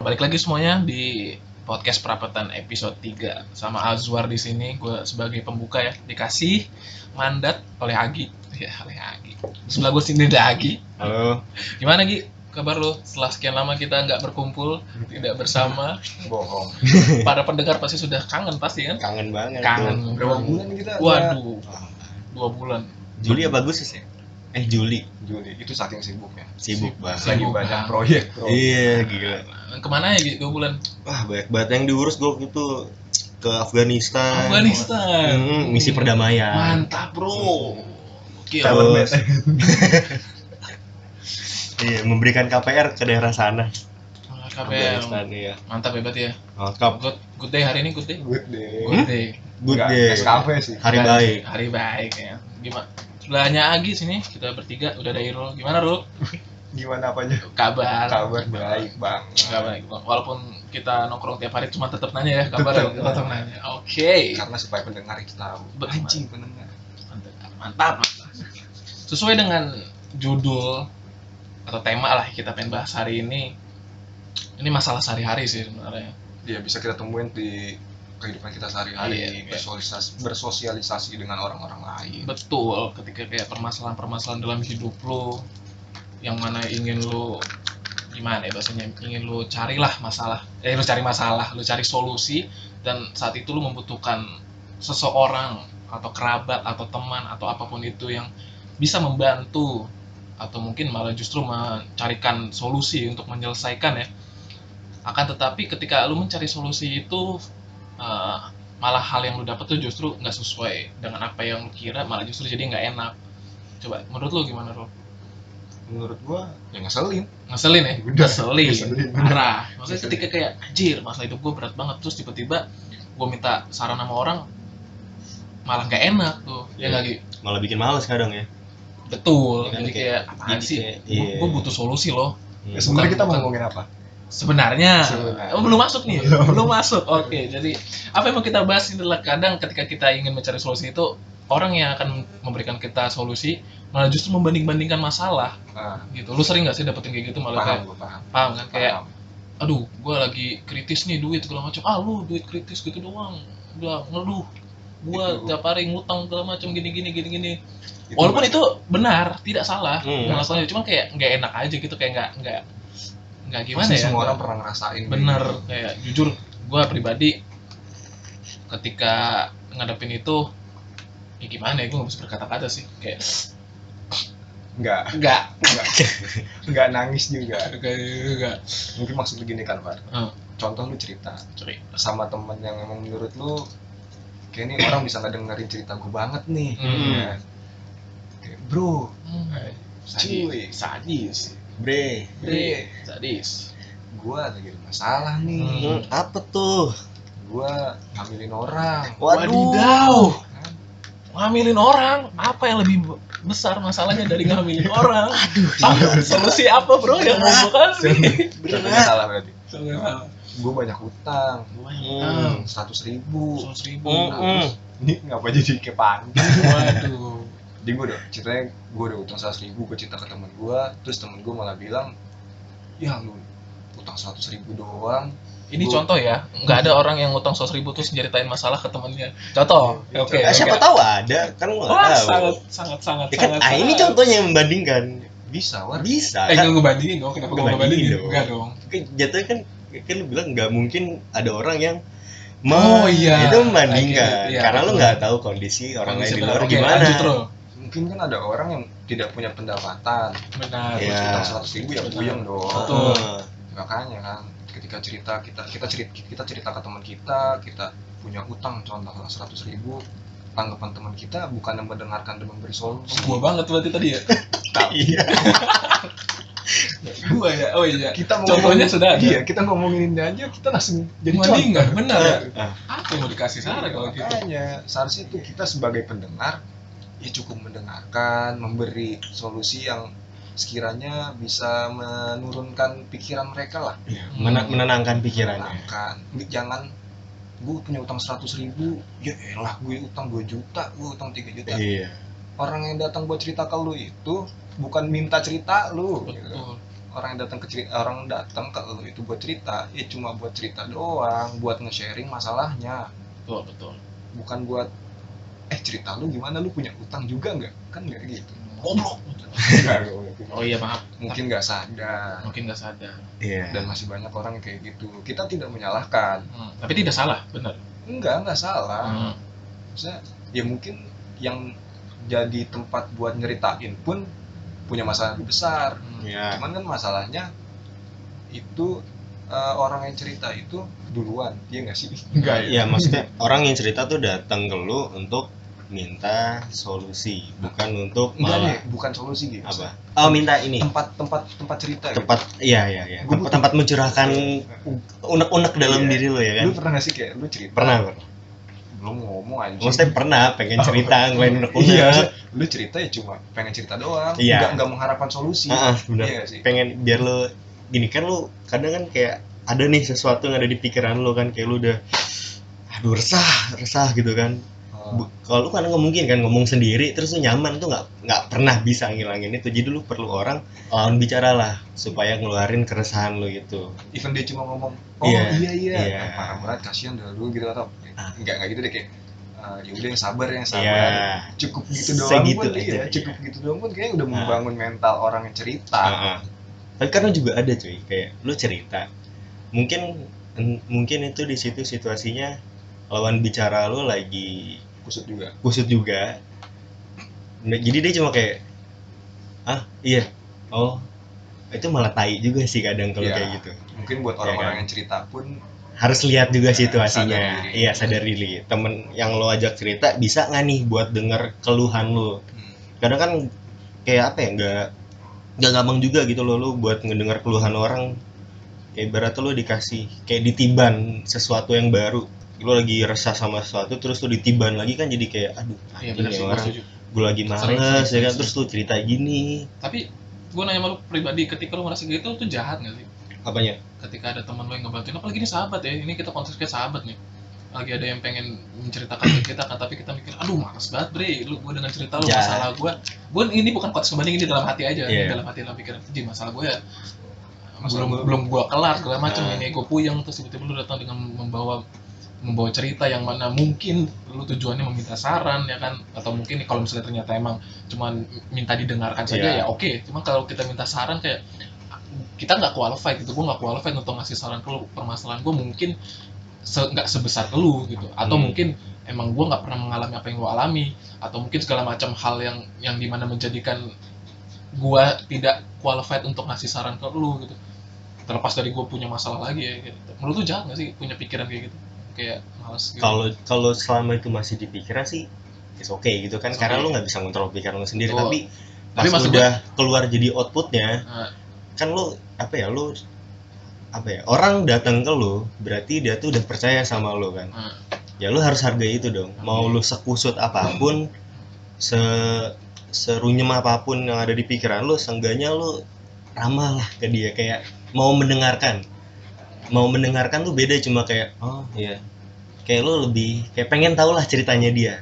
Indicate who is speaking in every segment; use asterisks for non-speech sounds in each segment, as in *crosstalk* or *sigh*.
Speaker 1: balik lagi semuanya di podcast perapatan episode 3 sama Azwar di sini gue sebagai pembuka ya dikasih mandat oleh Agi ya oleh Agi Di sebelah gue sini ada Agi
Speaker 2: Halo,
Speaker 1: gimana Gi kabar lo setelah sekian lama kita nggak berkumpul tidak bersama
Speaker 3: bohong
Speaker 1: para pendengar pasti sudah kangen pasti kan
Speaker 2: kangen banget.
Speaker 1: Kangen.
Speaker 2: tuh.
Speaker 3: berapa bulan kita nggak-
Speaker 1: waduh
Speaker 3: Ah,
Speaker 1: dua bulan
Speaker 2: Juli apa Agustus ya? Eh Juli,
Speaker 3: Juli itu saking sibuknya
Speaker 2: sibuk banget.
Speaker 3: lagi
Speaker 1: Sibuk
Speaker 3: banyak
Speaker 1: banget.
Speaker 3: proyek bro
Speaker 2: Iya, gila.
Speaker 1: kemana ya Gi dua bulan
Speaker 2: Wah, banyak banget yang diurus gue waktu itu ke Afghanistan.
Speaker 1: Afghanistan Iya.
Speaker 2: Mm, Nah, misi perdamaian.
Speaker 1: mantap bro Gokil.
Speaker 2: Terus- *laughs* Iya, memberikan KPR ke daerah sana.
Speaker 1: Ah,
Speaker 2: Afghanistan
Speaker 1: KPL
Speaker 2: ya.
Speaker 1: mantap hebat ya
Speaker 2: Lengkap.
Speaker 1: good, good day hari ini good day
Speaker 3: good day
Speaker 1: Hmm? good day
Speaker 2: Good
Speaker 3: Nggak, ya?
Speaker 2: day.
Speaker 3: SKP sih
Speaker 2: Hari
Speaker 1: Dan
Speaker 2: baik.
Speaker 1: Iya. hari baik ya gimana sebelahnya Agi sini kita bertiga udah ada Irul gimana Rul
Speaker 3: gimana apanya
Speaker 1: kabar
Speaker 3: kabar baik bang
Speaker 1: kabar walaupun kita nongkrong tiap hari cuma tetap nanya ya kabar
Speaker 3: Tetep.
Speaker 1: tetap nanya oke
Speaker 3: karena supaya pendengar itu tahu
Speaker 1: Betul.
Speaker 3: anjing pendengar
Speaker 1: mantap mantap sesuai dengan judul atau tema lah yang kita pengen bahas hari ini ini masalah sehari-hari sih sebenarnya
Speaker 3: ya bisa kita temuin di kehidupan kita
Speaker 1: Iya,
Speaker 3: sehari-hari
Speaker 1: iya.
Speaker 3: bersosialisasi, bersosialisasi dengan orang-orang lain
Speaker 1: betul ketika kayak permasalahan-permasalahan dalam hidup lo yang mana ingin lo gimana ya bahasanya ingin lo carilah masalah eh lo cari masalah lo cari solusi dan saat itu lo membutuhkan seseorang atau kerabat atau teman atau apapun itu yang bisa membantu atau mungkin malah justru mencarikan solusi untuk menyelesaikan ya akan tetapi ketika lo mencari solusi itu eh, malah hal yang lu dapat tuh justru nggak sesuai dengan apa yang lu kira malah justru jadi nggak enak coba menurut lu gimana lu
Speaker 3: menurut gua ya ngeselin
Speaker 1: ngeselin ya
Speaker 3: Udah,
Speaker 1: ngeselin,
Speaker 3: ngeselin.
Speaker 1: parah maksudnya
Speaker 3: Ngeselin.
Speaker 1: ketika kayak anjir masalah hidup gue berat banget terus tiba-tiba gue minta saran sama orang malah nggak enak tuh ya
Speaker 2: Iya.
Speaker 1: nggak Gi?
Speaker 2: *laughs* Malah bikin males kadang ya.
Speaker 1: betul
Speaker 2: Kan
Speaker 1: jadi
Speaker 2: kayak-
Speaker 1: kayak apaan
Speaker 2: jadi
Speaker 1: sih
Speaker 2: kayak- iya.
Speaker 1: gue butuh solusi loh
Speaker 2: Hmm.
Speaker 3: ya, sebenarnya
Speaker 1: Bukan,
Speaker 3: kita mau
Speaker 1: bukan.
Speaker 3: ngomongin apa
Speaker 1: sebenarnya
Speaker 3: Sebenarnya.
Speaker 1: Oh, belum masuk nih
Speaker 3: Belum.
Speaker 1: belum masuk oke jadi apa yang mau kita bahas ini adalah kadang ketika kita ingin mencari solusi itu orang yang akan memberikan kita solusi malah justru membanding-bandingkan masalah
Speaker 3: nah,
Speaker 1: gitu lu sering nggak sih dapetin kayak gitu malah
Speaker 3: paham
Speaker 1: kayak
Speaker 3: gua paham
Speaker 1: paham kan kayak
Speaker 3: paham.
Speaker 1: aduh gua lagi kritis nih duit segala macam ah lu duit kritis gitu doang udah ngeluh gua
Speaker 3: Itu.
Speaker 1: tiap hari ngutang segala macam gini gini gini gini
Speaker 3: Itu
Speaker 1: walaupun
Speaker 3: bukan-
Speaker 1: itu benar tidak salah
Speaker 2: Hmm.
Speaker 1: melakukannya cuman kayak nggak enak aja gitu kayak nggak nggak nggak gimana
Speaker 3: pasti
Speaker 1: ya
Speaker 3: semua
Speaker 1: nggak-
Speaker 3: orang pernah ngerasain
Speaker 1: bener kayak jujur gue pribadi ketika ngadepin itu ya gimana ya gue gak bisa berkata-kata sih kayak
Speaker 3: nggak
Speaker 1: enggak
Speaker 3: nggak nangis juga
Speaker 1: kayak enggak
Speaker 3: mungkin maksud lu gini kan Far
Speaker 1: Hmm.
Speaker 3: contoh lu cerita
Speaker 1: sorry
Speaker 3: sama temen yang emang menurut lu kayak ini orang bisa ngedengerin cerita gue banget nih
Speaker 1: Hmm.
Speaker 3: Ya. Kayak, bro
Speaker 1: hmm.
Speaker 3: Cuy.
Speaker 1: sadis sadis
Speaker 2: Bre.
Speaker 1: Iya.
Speaker 3: bre
Speaker 1: sadis
Speaker 3: gue lagi ada masalah nih
Speaker 2: Hmm, apa tuh?
Speaker 1: Hmm.
Speaker 3: gue ngambilin orang
Speaker 1: wadidaw ngambilin orang apa yang lebih be- besar masalahnya dari ngambilin orang aduh solusi apa bro yang kan? mau gue kasih
Speaker 3: contohnya salah berarti
Speaker 1: Solusi apa?
Speaker 3: gue banyak hutang
Speaker 1: Gua
Speaker 2: Hmm.
Speaker 1: yang
Speaker 3: seratus ribu
Speaker 1: seratus ribu
Speaker 2: Mm-mm.
Speaker 3: ini ngapa jadi kayak panjang
Speaker 1: waduh
Speaker 3: jadi gue udah ceritanya gue udah utang seratus ribu gue cerita ke temen gue terus temen gue malah bilang ya lu utang seratus ribu doang
Speaker 1: Ini
Speaker 3: Bu.
Speaker 1: contoh ya, nggak ada orang yang ngutang seratus ribu terus nyeritain masalah ke temennya. Contoh,
Speaker 3: Iya,
Speaker 1: oke.
Speaker 3: iya.
Speaker 2: Eh, siapa
Speaker 1: oke.
Speaker 2: tahu ada, kan lu
Speaker 1: Wah,
Speaker 2: nggak tahu.
Speaker 1: sangat, sangat, sangat,
Speaker 2: Ya kan,
Speaker 1: sangat.
Speaker 2: ah, ini
Speaker 1: sangat.
Speaker 2: contohnya yang membandingkan.
Speaker 3: bisa war
Speaker 2: Bisa.
Speaker 1: Eh,
Speaker 2: kan?
Speaker 1: nggak gue bandingin dong, kenapa gue
Speaker 2: Nggak
Speaker 1: bandingin?
Speaker 2: bandingin
Speaker 1: dong.
Speaker 2: dong.
Speaker 1: Enggak dong.
Speaker 2: Kan jatuhnya kan kan lu bilang nggak mungkin ada orang yang
Speaker 1: Oh,
Speaker 2: me-
Speaker 1: iya.
Speaker 2: itu membandingkan
Speaker 1: Oke, iya,
Speaker 2: karena lu
Speaker 1: betul.
Speaker 2: nggak tahu kondisi orang lain
Speaker 1: Kondisi
Speaker 2: di
Speaker 1: benar.
Speaker 2: luar
Speaker 1: Oke,
Speaker 2: gimana
Speaker 1: lanjut, Ro.
Speaker 3: mungkin kan ada orang yang tidak punya pendapatan
Speaker 1: Benar.
Speaker 2: Iya.
Speaker 3: terus utang seratus ribu ya
Speaker 1: Betul.
Speaker 3: puyeng
Speaker 2: Ah,
Speaker 3: dong
Speaker 1: Betul.
Speaker 3: makanya kan ketika cerita kita kita cerita kita cerita ke teman kita kita punya utang contoh seratus ribu tanggapan teman kita bukan yang mendengarkan dan memberi solusi
Speaker 1: Gua banget berarti tadi ya.
Speaker 2: iya
Speaker 1: gua ya. Oh iya.
Speaker 3: kita mau
Speaker 1: Contohnya
Speaker 3: ngomongin-
Speaker 1: sudah ada.
Speaker 3: iya kita ngomongin ini aja kita langsung jadi
Speaker 1: Bandingkan,
Speaker 3: contoh
Speaker 1: benar ya.
Speaker 2: Ah.
Speaker 1: Apa yang mau dikasih saran kalau gitu?
Speaker 3: makanya seharusnya itu kita sebagai pendengar ya cukup mendengarkan memberi solusi yang sekiranya bisa menurunkan pikiran mereka lah
Speaker 2: iya.
Speaker 1: Hmm.
Speaker 2: Mena- menenangkan pikirannya
Speaker 3: menenangkan Nggak- jangan gue punya utang seratus ribu ya elah gue utang 2 juta gue utang 3 juta
Speaker 2: iya
Speaker 3: orang yang datang buat cerita ke lu itu bukan minta cerita lu gitu.
Speaker 1: Betul.
Speaker 3: orang yang datang ke cerita, orang datang ke lu itu buat cerita, ya cuma buat cerita doang, buat nge-sharing masalahnya,
Speaker 1: betul betul
Speaker 3: bukan buat eh cerita lu gimana lu punya utang juga nggak? Kan nggak gitu.
Speaker 1: *laughs* goblok
Speaker 3: Nggak, nggak.
Speaker 1: oh iya maaf
Speaker 3: Mungkin nggak sadar
Speaker 1: mungkin nggak sadar
Speaker 2: Iya.
Speaker 3: dan masih banyak orang yang kayak gitu. Kita tidak menyalahkan,
Speaker 1: Hmm, tapi tidak salah benar
Speaker 3: enggak nggak salah.
Speaker 1: Hmm,
Speaker 3: Maksudnya, ya mungkin yang jadi tempat buat nyeritain pun punya masalah lebih besar
Speaker 1: hmm.
Speaker 2: Iya.
Speaker 3: cuman kan masalahnya itu eh, orang yang cerita itu duluan dia nggak sih
Speaker 1: Enggak
Speaker 2: Iya, maksudnya orang yang cerita tuh datang ke lu untuk minta solusi, bukan untuk
Speaker 3: enggak
Speaker 2: malah
Speaker 3: nih bukan solusi gitu
Speaker 2: apa? Oh, minta ini.
Speaker 3: tempat tempat tempat cerita gitu.
Speaker 2: tempat iya iya iya
Speaker 3: Gua
Speaker 2: tempat, tempat mencurahkan unek-unek dalam
Speaker 3: Iya.
Speaker 2: diri lo ya kan
Speaker 3: lu pernah nggak sih kayak lu cerita
Speaker 2: pernah bro.
Speaker 3: belum ngomong aja
Speaker 2: maksudnya pernah
Speaker 3: *laughs*
Speaker 2: pengen
Speaker 3: Oh.
Speaker 2: cerita ngeluarin unek-unek
Speaker 3: iya
Speaker 2: iya
Speaker 3: maksudnya lu cerita ya cuma pengen cerita doang
Speaker 2: Iya.
Speaker 3: nggak nggak mengharapkan solusi
Speaker 2: bener
Speaker 3: iya sih
Speaker 2: pengen biar lo gini kan lo kadang kan kayak ada nih sesuatu yang ada di pikiran lo kan kayak lo udah aduh resah resah gitu kan
Speaker 3: Eh,
Speaker 2: Bu- kalau lu kan nggak mungkin kan ngomong sendiri terus lu nyaman tuh nggak nggak pernah bisa ngilangin itu jadi lu perlu orang lawan bicara lah supaya ngeluarin keresahan lu gitu
Speaker 3: even dia cuma ngomong oh
Speaker 2: Iya,
Speaker 3: iya iya,
Speaker 2: iya.
Speaker 3: Eh, parah banget kasihan dah lu gitu atau
Speaker 2: Ah.
Speaker 3: nggak nggak gitu deh kayak eh, ya udah yang sabar yang sabar
Speaker 2: iya
Speaker 3: cukup gitu doang
Speaker 2: Segitu
Speaker 3: pun
Speaker 2: aja,
Speaker 3: iya,
Speaker 2: iya.
Speaker 3: cukup gitu doang pun kayaknya udah
Speaker 2: Ah.
Speaker 3: membangun mental orang yang cerita
Speaker 2: Heeh. Tapi karena juga ada cuy, kayak lu cerita. Mungkin en- mungkin itu di situ situasinya lawan bicara lu lagi
Speaker 3: kusut juga
Speaker 2: kusut juga. Nah, Jadi dia cuma kayak ah iya oh itu malah tai juga sih kadang kalau
Speaker 3: Iya.
Speaker 2: kayak gitu.
Speaker 3: mungkin buat
Speaker 2: Iya
Speaker 3: orang-orang
Speaker 2: kan?
Speaker 3: yang cerita pun
Speaker 2: Harus lihat juga situasinya.
Speaker 3: Sadar diri.
Speaker 2: iya sadar diri. Temen yang lo ajak cerita bisa nggak nih buat denger keluhan lu
Speaker 3: hmm,
Speaker 2: kadang kan kayak apa ya nggak nggak gampang juga gitu loh lo buat ngedengar keluhan orang kayak ibarat lo dikasih kayak ditiban sesuatu yang baru lo lagi resah sama sesuatu terus lo ditiban lagi kan jadi kayak aduh
Speaker 1: iya
Speaker 2: anjing
Speaker 1: benar
Speaker 2: ya
Speaker 1: sih gua
Speaker 2: orang
Speaker 1: setuju
Speaker 2: gue lagi
Speaker 1: Sering,
Speaker 2: males
Speaker 1: sering,
Speaker 2: ya kan
Speaker 1: sering.
Speaker 2: terus lo cerita gini
Speaker 1: tapi gue nanya sama lu pribadi ketika lu merasa gitu tuh jahat nggak sih
Speaker 2: apanya
Speaker 1: Hmm. ketika ada teman lu yang ngebantuin apalagi ini sahabat ya ini kita konteksnya sahabat nih lagi ada yang pengen menceritakan ke kita kan tapi kita mikir aduh malas banget bre lu gue dengan cerita lu
Speaker 2: Ya.
Speaker 1: masalah gue gue ini bukan konteks ngebanding ini dalam hati aja
Speaker 2: Iya.
Speaker 1: ini dalam hati dalam pikiran jadi masalah gue ya
Speaker 3: Masalah
Speaker 1: belum
Speaker 3: gua-
Speaker 1: belum gue kelar segala macam
Speaker 2: Nah.
Speaker 1: ini gue puyeng terus tiba-tiba lu datang dengan membawa membawa cerita yang mana mungkin lu tujuannya meminta saran ya kan atau mungkin kalau misalnya ternyata emang cuman minta didengarkan saja ya
Speaker 2: Iya.
Speaker 1: oke cuman kalau kita minta saran kayak kita nggak qualified gitu gue nggak qualified untuk ngasih saran ke lu permasalahan gue mungkin se- nggak sebesar ke lu gitu atau
Speaker 2: Hmm.
Speaker 1: mungkin emang gue nggak pernah mengalami apa yang gue alami atau mungkin segala macam hal yang yang dimana menjadikan gue tidak qualified untuk ngasih saran ke lu gitu terlepas dari gue punya masalah lagi ya gitu. menurut lu jahat nggak sih punya pikiran kayak gitu kayak males gitu
Speaker 2: kalau kalau selama itu masih di pikiran sih it's okay gitu kan
Speaker 1: It's okay.
Speaker 2: karena lo nggak bisa ngontrol pikiran lo sendiri
Speaker 1: Betul.
Speaker 2: tapi
Speaker 1: Tapi
Speaker 2: tapi pas
Speaker 1: maksud
Speaker 2: udah keluar jadi outputnya
Speaker 1: Nah.
Speaker 2: kan lo apa ya lo apa ya orang datang ke lo berarti dia tuh udah percaya sama lo kan
Speaker 1: Nah.
Speaker 2: ya lo harus hargai itu dong mau lo sekusut apapun se serunyem apapun yang ada di pikiran lo seenggaknya lo ramah lah ke dia kayak mau mendengarkan mau mendengarkan tuh beda cuma kayak oh iya kayak lo lebih kayak pengen tau lah ceritanya dia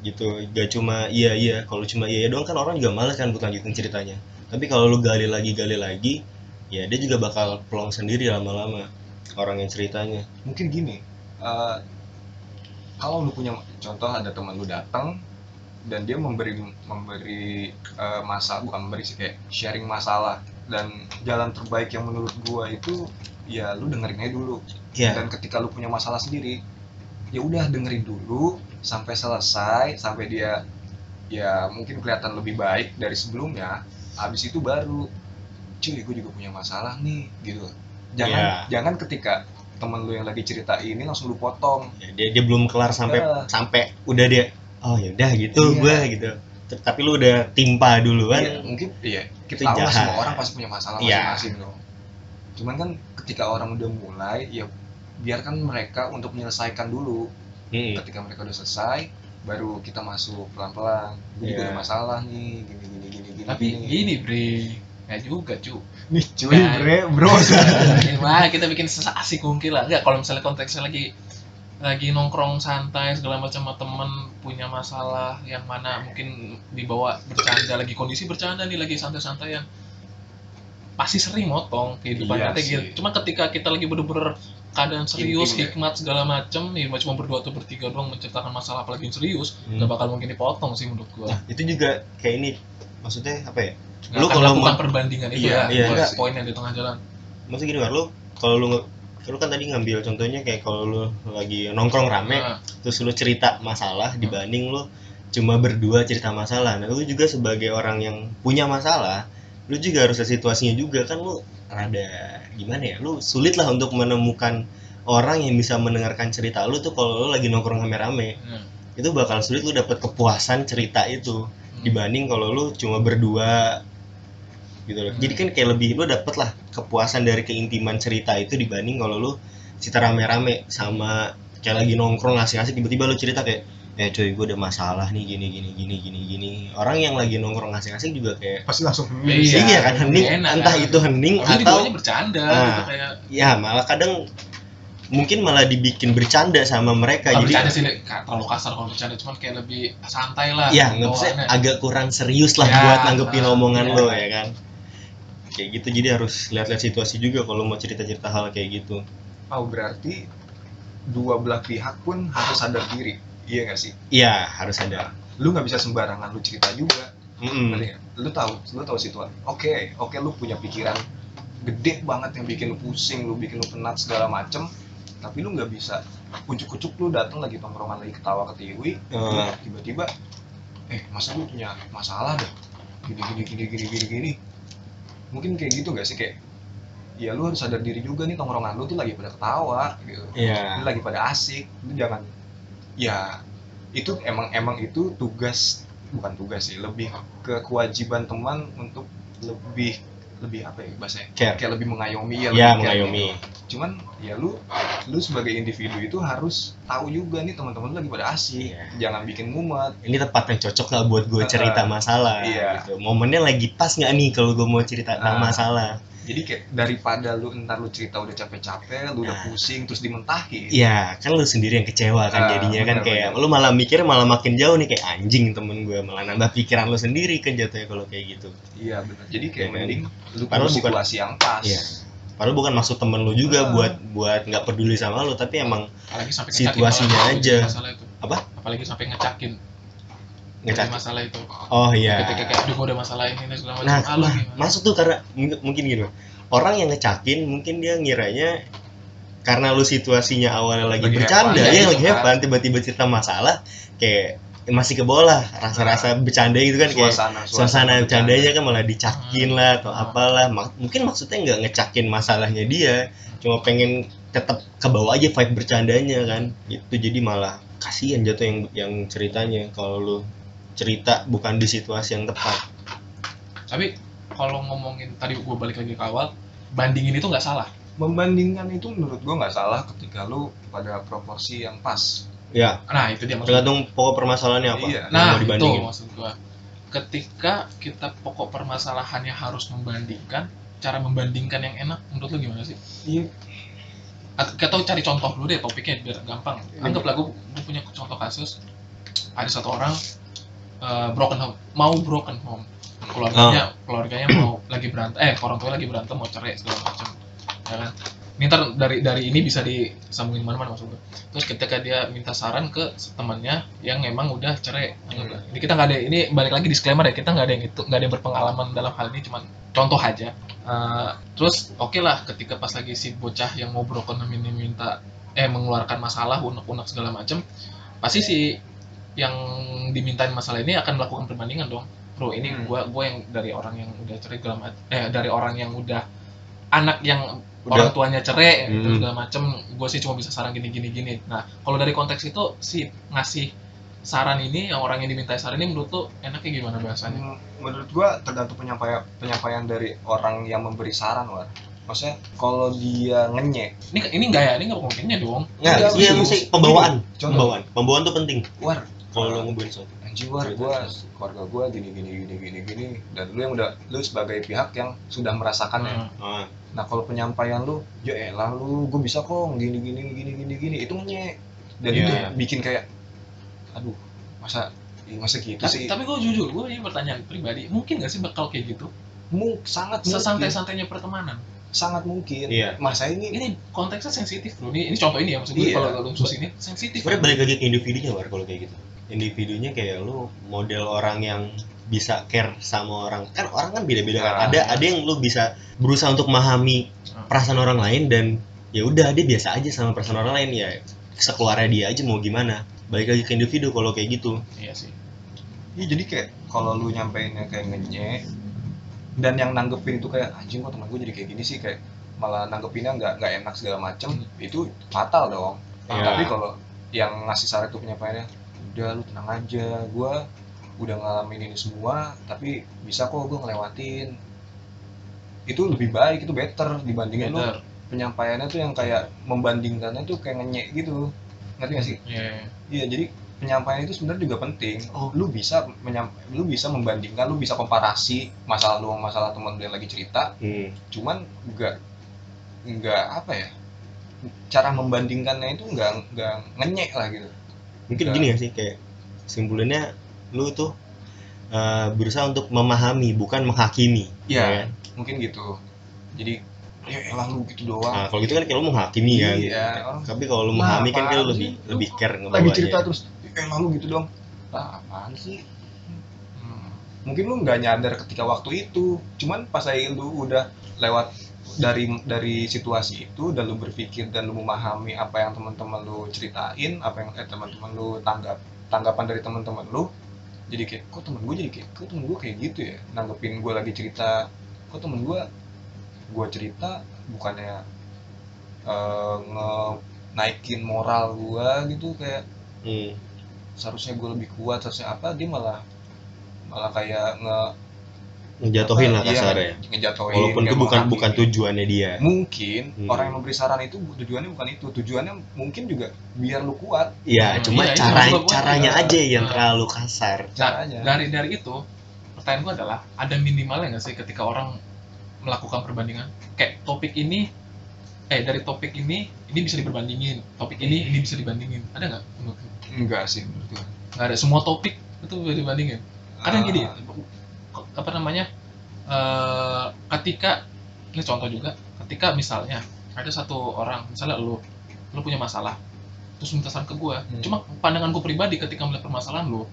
Speaker 2: gitu gak cuma iya iya kalau cuma iya iya doang kan orang juga males kan buat lanjutin ceritanya tapi kalau lu gali lagi gali lagi ya dia juga bakal plong sendiri lama-lama orang yang ceritanya
Speaker 3: mungkin gini eh, kalau lu punya contoh ada teman lu datang dan dia memberi memberi eh, masalah bukan memberi sih kayak sharing masalah dan jalan terbaik yang menurut gua itu ya lu dengerin aja dulu
Speaker 2: ya
Speaker 3: dan ketika lu punya masalah sendiri ya udah dengerin dulu sampai selesai sampai dia ya mungkin kelihatan lebih baik dari sebelumnya habis itu baru cuy gue juga punya masalah nih gitu jangan jangan ketika temen lu yang lagi cerita ini langsung lu potong
Speaker 2: ya, dia dia belum kelar sampai
Speaker 3: Ya.
Speaker 2: sampai udah dia oh ya udah gitu
Speaker 3: Iya.
Speaker 2: gua gitu T- tapi lu udah timpa duluan
Speaker 3: Iya, mungkin iya
Speaker 2: Itu
Speaker 3: kita tahu lah
Speaker 2: jahat.
Speaker 3: semua orang pasti punya masalah
Speaker 2: Iya.
Speaker 3: masing-masing dong cuman kan ketika orang udah mulai ya biarkan mereka untuk menyelesaikan dulu
Speaker 2: Mm-mm.
Speaker 1: Iya.
Speaker 3: ketika mereka udah selesai baru kita masuk pelan-pelan jadi
Speaker 2: Iya.
Speaker 3: ada masalah nih gini gini gini gini
Speaker 1: tapi gini bre nggak juga cu
Speaker 3: nih
Speaker 1: cuy, bre, *laughs*
Speaker 3: bro
Speaker 1: Wah, kita bikin asik mungkin lah. Enggak, kalau misalnya konteksnya lagi lagi nongkrong santai segala macam sama temen punya masalah yang mana mungkin dibawa bercanda lagi kondisi bercanda nih lagi santai-santai yang pasti sering motong kehidupan
Speaker 3: Iya
Speaker 1: kita
Speaker 3: sih.
Speaker 1: gitu. Cuma ketika kita lagi bener-bener keadaan serius,
Speaker 3: Intim ya.
Speaker 1: hikmat segala macem, ya cuma berdua atau bertiga doang menciptakan masalah apalagi yang serius,
Speaker 2: Hmm.
Speaker 1: nggak bakal mungkin dipotong sih menurut gua.
Speaker 2: Nah, itu juga kayak ini maksudnya apa ya?
Speaker 1: Nggak
Speaker 2: lu
Speaker 1: akan
Speaker 2: kalau
Speaker 1: lakukan
Speaker 2: mau-
Speaker 1: perbandingan itu
Speaker 2: Iya,
Speaker 1: ya,
Speaker 2: iya,
Speaker 1: buat
Speaker 2: enggak.
Speaker 1: poin yang di tengah jalan.
Speaker 2: Maksudnya gini Mar, lu kalau lu nge- lu kan tadi ngambil contohnya kayak kalau lu lagi nongkrong rame
Speaker 1: Nah,
Speaker 2: terus lu cerita masalah dibanding lu cuma berdua cerita masalah. Nah, lu juga sebagai orang yang punya masalah, lu juga harus lihat situasinya juga kan lu rada gimana ya? Lu sulit lah untuk menemukan orang yang bisa mendengarkan cerita lu tuh kalau lu lagi nongkrong rame-rame.
Speaker 1: nah,
Speaker 2: Itu bakal sulit lu dapet kepuasan cerita itu
Speaker 1: hmm.
Speaker 2: dibanding kalau lu cuma berdua gitu loh. Jadi kan kayak lebih lu dapet lah kepuasan dari keintiman cerita itu dibanding kalau lu cerita rame-rame sama kayak lagi nongkrong asik-asik tiba-tiba lu cerita kayak ya cuy gue ada masalah nih gini gini gini gini gini orang yang lagi nongkrong asik-asik juga kayak
Speaker 3: pasti langsung
Speaker 1: Iya,
Speaker 2: iya, kan hening
Speaker 1: enak
Speaker 2: entah
Speaker 1: kan.
Speaker 2: itu hening
Speaker 1: Harusnya
Speaker 2: Iya, atau
Speaker 1: dibilangnya bercanda gitu
Speaker 2: Nah,
Speaker 1: kayak
Speaker 2: ya malah kadang mungkin malah dibikin bercanda sama mereka
Speaker 1: Kalau bercanda
Speaker 2: jadi
Speaker 1: sih Dek. Ka- terlalu kasar kalau bercanda cuman kayak lebih santai lah
Speaker 3: Iya,
Speaker 1: gitu
Speaker 2: ya nggak bisa
Speaker 1: bawaannya.
Speaker 2: agak kurang serius lah
Speaker 1: Ya,
Speaker 2: buat nanggepin
Speaker 3: ah,
Speaker 1: nah,
Speaker 2: omongan
Speaker 1: iya.
Speaker 2: lo ya kan kayak gitu jadi harus lihat-lihat situasi juga kalau mau cerita-cerita hal kayak gitu
Speaker 3: oh berarti dua belah pihak pun harus sadar diri iya nggak sih
Speaker 2: iya harus ada
Speaker 3: lu nggak bisa sembarangan lu cerita juga
Speaker 2: Mm-mm.
Speaker 1: Hmm.
Speaker 3: Ngerti nggak? lu tahu lu tahu situasi oke oke lu punya pikiran gede banget yang bikin lu pusing lu bikin lu penat segala macem tapi lu nggak bisa ujuk-ujuk lu datang lagi tongkrongan lagi ketawa ketiwi
Speaker 2: Eh,
Speaker 3: tiba-tiba eh masa lu punya masalah dah gini gini gini gini gini gini mungkin kayak gitu nggak sih kayak ya lu harus sadar diri juga nih tongkrongan lu tuh lagi pada ketawa gitu
Speaker 2: iya
Speaker 3: lu lagi pada asik lu jangan ya itu emang emang itu tugas bukan tugas sih lebih ke kewajiban teman untuk lebih lebih apa ya bahasanya
Speaker 2: care
Speaker 3: kayak lebih
Speaker 2: ya
Speaker 3: mengayomi ya lebih care gitu.
Speaker 2: mengayomi
Speaker 3: cuman ya lu lu sebagai individu itu harus tahu juga nih teman-teman lu lagi pada asik
Speaker 2: Iya.
Speaker 3: jangan bikin mumet
Speaker 2: ini tempat yang cocok lah buat gue cerita
Speaker 3: Heeh.
Speaker 2: masalah
Speaker 3: Ah, Iya.
Speaker 2: gitu. momennya lagi pas nggak nih kalau gue mau cerita tentang
Speaker 3: Ah.
Speaker 2: masalah
Speaker 3: jadi kayak daripada lu entar lu cerita udah capek-capek lu udah
Speaker 2: Nah.
Speaker 3: pusing terus dimentahin
Speaker 2: Iya, kan lu sendiri yang kecewa kan
Speaker 3: Ah,
Speaker 2: jadinya kan
Speaker 3: benar,
Speaker 2: kayak
Speaker 3: benar.
Speaker 2: lu malah mikir malah makin jauh nih kayak anjing temen gue malah nambah pikiran lu sendiri kan jatuhnya kalau kayak gitu.
Speaker 3: iya benar jadi
Speaker 2: Iya,
Speaker 3: kayak
Speaker 2: kan?
Speaker 3: mending lu
Speaker 2: Padahal
Speaker 3: perlu
Speaker 2: bukan-
Speaker 3: situasi yang pas
Speaker 2: Iya. Padahal bukan maksud temen lu juga
Speaker 3: Ah.
Speaker 2: buat buat nggak peduli sama lu tapi emang
Speaker 1: apalagi sampai
Speaker 2: situasinya
Speaker 1: ngecakin orang,
Speaker 2: aja.
Speaker 1: jadi masalah itu.
Speaker 2: Apa?
Speaker 1: apalagi sampai ngecakin jadi
Speaker 2: ngecat.
Speaker 1: masalah itu
Speaker 2: Oh iya.
Speaker 1: ketika kayak aduh gua ada masalah ini dan segala macam
Speaker 2: Nah,
Speaker 1: ah, lu
Speaker 2: nah,
Speaker 1: gimana?
Speaker 2: masuk tuh karena mung- mungkin gini loh. Orang yang ngecakin mungkin dia ngiranya karena lu situasinya awalnya lagi
Speaker 3: Lagi
Speaker 2: bercanda,
Speaker 1: hepan,
Speaker 2: ya
Speaker 1: iya,
Speaker 2: lagi
Speaker 1: gitu kan.
Speaker 2: hepan tiba-tiba cerita masalah kayak masih ke bawah lah rasa-rasa bercanda gitu kan kayak
Speaker 3: suasana
Speaker 2: suasana
Speaker 3: bercanda.
Speaker 2: bercandanya kan malah dicakin lah atau
Speaker 1: Hmm.
Speaker 2: apalah Mak- mungkin maksudnya nggak ngecakin masalahnya dia cuma pengen tetap ke bawah aja vibe bercandanya kan itu jadi malah kasihan jatuh yang yang ceritanya kalau lu cerita bukan di situasi yang tepat
Speaker 1: tapi kalau ngomongin tadi gua balik lagi ke awal bandingin itu nggak salah
Speaker 3: membandingkan itu menurut gua nggak salah ketika lu pada proporsi yang pas
Speaker 2: ya
Speaker 1: nah itu dia maksudnya
Speaker 2: tergantung pokok permasalahannya apa
Speaker 3: Iya.
Speaker 2: yang
Speaker 1: nah
Speaker 2: ya, mau
Speaker 1: itu
Speaker 2: dibandingin
Speaker 1: maksud gua ketika kita pokok permasalahannya harus membandingkan cara membandingkan yang enak menurut lu gimana sih
Speaker 3: iya
Speaker 1: At- atau cari contoh dulu deh topiknya biar gampang anggaplah gue, gue punya contoh kasus ada satu orang eh, broken home mau broken home
Speaker 2: Ah.
Speaker 1: keluarganya keluarganya mau lagi berantem eh orang tua lagi berantem mau cerai segala macam ya kan ini ntar dari dari ini bisa disambungin mana mana maksud gue terus ketika dia minta saran ke temannya yang emang udah cerai anggaplah. ini kita nggak ada ini balik lagi disclaimer ya kita nggak ada yang itu nggak ada yang berpengalaman dalam hal ini cuman contoh aja Eh, terus oke lah ketika pas lagi si bocah yang mau broken home ini minta eh mengeluarkan masalah unek-unek segala macam pasti si yang dimintain masalah ini akan melakukan perbandingan dong bro ini
Speaker 3: Hmm.
Speaker 1: gua gua yang dari orang yang udah cerai segala macam eh dari orang yang udah anak yang orang
Speaker 2: udah
Speaker 1: tuanya cerai gitu,
Speaker 2: Hmm.
Speaker 1: segala macem gue sih cuma bisa saran gini gini gini nah kalau dari konteks itu si ngasih saran ini yang orang yang diminta saran ini menurut tuh enaknya gimana bahasanya
Speaker 3: Men- menurut gua tergantung penyampaian penyampaian dari orang yang memberi saran war maksudnya kalau dia ngenyek
Speaker 1: ini ini enggak ya ini nggak pentingnya dong
Speaker 2: nggak
Speaker 3: Enggak,
Speaker 2: iya
Speaker 3: lu-
Speaker 2: mesti pembawaan
Speaker 3: contoh
Speaker 2: pembawaan pembawaan tuh penting
Speaker 3: war
Speaker 2: kalau
Speaker 3: Nah.
Speaker 2: lu ngebuin sesuatu
Speaker 3: anjing war gua keluarga gua gini gini gini gini gini dan lu yang udah lu sebagai pihak yang sudah merasakannya
Speaker 1: Nah,
Speaker 2: Ah,
Speaker 3: nah kalau penyampaian lu ya elah lu gua bisa kok gini gini gini gini gini itu ngenyek dan
Speaker 2: Iya.
Speaker 3: itu bikin kayak aduh masa ih, masa gitu
Speaker 1: tapi,
Speaker 3: sih
Speaker 2: Nah,
Speaker 1: tapi gue jujur gue ini pertanyaan pribadi mungkin gak sih bakal kayak gitu
Speaker 3: mung sangat mungkin
Speaker 1: sesantai-santainya pertemanan.
Speaker 3: sangat mungkin
Speaker 2: Iya.
Speaker 3: masa ini
Speaker 1: Ini konteksnya sensitif bro. Ini, ini contoh ini ya maksud gue
Speaker 3: Iya.
Speaker 1: kalau lumsus ini sensitif.
Speaker 2: sebenarnya balik lagi ke individunya war kalau kayak gitu individunya kayak lu model orang yang bisa care sama orang kan orang kan beda-beda kan
Speaker 3: Ah.
Speaker 2: ada ada yang lu bisa berusaha untuk memahami
Speaker 1: Ah.
Speaker 3: Hmm.
Speaker 2: perasaan orang lain dan ya udah dia biasa aja sama perasaan orang lain ya sekeluarnya dia aja mau gimana balik lagi ke individu kalau kayak gitu
Speaker 1: Iya sih.
Speaker 3: ya jadi kayak kalau lu nyampeinnya kayak ngenyek dan yang nanggepin itu kayak anjing kok temen gue jadi kayak gini sih kayak malah nanggepinnya nggak nggak enak segala macem itu fatal dong
Speaker 2: Iya.
Speaker 3: tapi kalau yang ngasih saran tuh penyampaiannya udah lu tenang aja gue udah ngalamin ini semua tapi bisa kok gue ngelewatin itu lebih baik itu better dibandingin Iya, lu
Speaker 1: Better.
Speaker 3: penyampaiannya tuh yang kayak membandingkannya tuh kayak ngenyek gitu ngerti gak sih
Speaker 1: Iya.
Speaker 3: Iya, jadi penyampaian itu sebenarnya juga penting.
Speaker 2: Oh.
Speaker 3: Lu bisa menyampa- lu bisa membandingkan, lu bisa komparasi masalah lu sama masalah teman lu yang lagi cerita,
Speaker 2: hmm.
Speaker 3: cuman enggak enggak apa ya? Cara membandingkannya itu enggak enggak ngenyek lah gitu.
Speaker 2: mungkin
Speaker 3: Nah.
Speaker 2: gini gak sih kayak simpulannya lu tuh eh, berusaha untuk memahami bukan menghakimi ya
Speaker 3: Iya.
Speaker 2: kan?
Speaker 3: Mungkin gitu. Jadi ya elah lu gitu doang.
Speaker 2: nah, kalau gitu kan kayak lu menghakimi kan
Speaker 3: Iya, orang
Speaker 2: tapi kalau lu
Speaker 3: Nah,
Speaker 2: memahami kan kayak
Speaker 3: apaan
Speaker 2: lu lebih
Speaker 3: sih?
Speaker 2: lebih care
Speaker 3: lagi
Speaker 2: ngebawanya.
Speaker 3: cerita terus ya elah lu gitu doang. Lah, apaan sih? Hmm. Mungkin lu nggak nyadar ketika waktu itu, cuman pas saya lu udah lewat dari dari situasi itu dan lu berpikir dan lu memahami apa yang teman-teman lu ceritain, apa yang eh, teman-teman lu tanggap tanggapan dari teman-teman lu jadi kayak kok temen gue jadi kayak kok temen gue kayak gitu ya nanggepin gue lagi cerita kok temen gue gue cerita bukannya eh, nge naikin moral gue gitu kayak
Speaker 2: Hmm.
Speaker 3: seharusnya gue lebih kuat seharusnya apa dia malah malah kayak nge
Speaker 2: ngejatuhin lah
Speaker 3: apa, iya,
Speaker 2: kasarnya
Speaker 3: ngejatuhin
Speaker 2: walaupun
Speaker 3: kayak
Speaker 2: itu bukan
Speaker 3: menghakimi.
Speaker 2: bukan tujuannya dia
Speaker 3: mungkin
Speaker 2: Hmm.
Speaker 3: orang yang memberi saran itu tujuannya bukan itu tujuannya mungkin juga biar lu kuat
Speaker 2: ya
Speaker 1: Hmm,
Speaker 2: cuma
Speaker 1: iya, iya,
Speaker 2: cara
Speaker 1: maksud gua
Speaker 2: caranya
Speaker 1: juga.
Speaker 2: aja yang
Speaker 1: Nah.
Speaker 2: terlalu kasar
Speaker 1: Nah,
Speaker 3: caranya
Speaker 1: dari dari itu pertanyaan gue adalah ada minimalnya nggak sih ketika orang melakukan perbandingan kayak topik ini eh dari topik ini ini bisa diperbandingin topik ini ini bisa dibandingin ada nggak menurut lu?
Speaker 3: enggak sih menurut gue
Speaker 1: nggak ada semua topik itu bisa dibandingin karena gini
Speaker 2: ya?
Speaker 3: Ah.
Speaker 1: apa namanya eh, ketika ini contoh juga ketika misalnya ada satu orang misalnya lu lu punya masalah terus minta saran ke gue
Speaker 3: Hmm.
Speaker 1: cuma pandangan gue pribadi ketika melihat permasalahan lu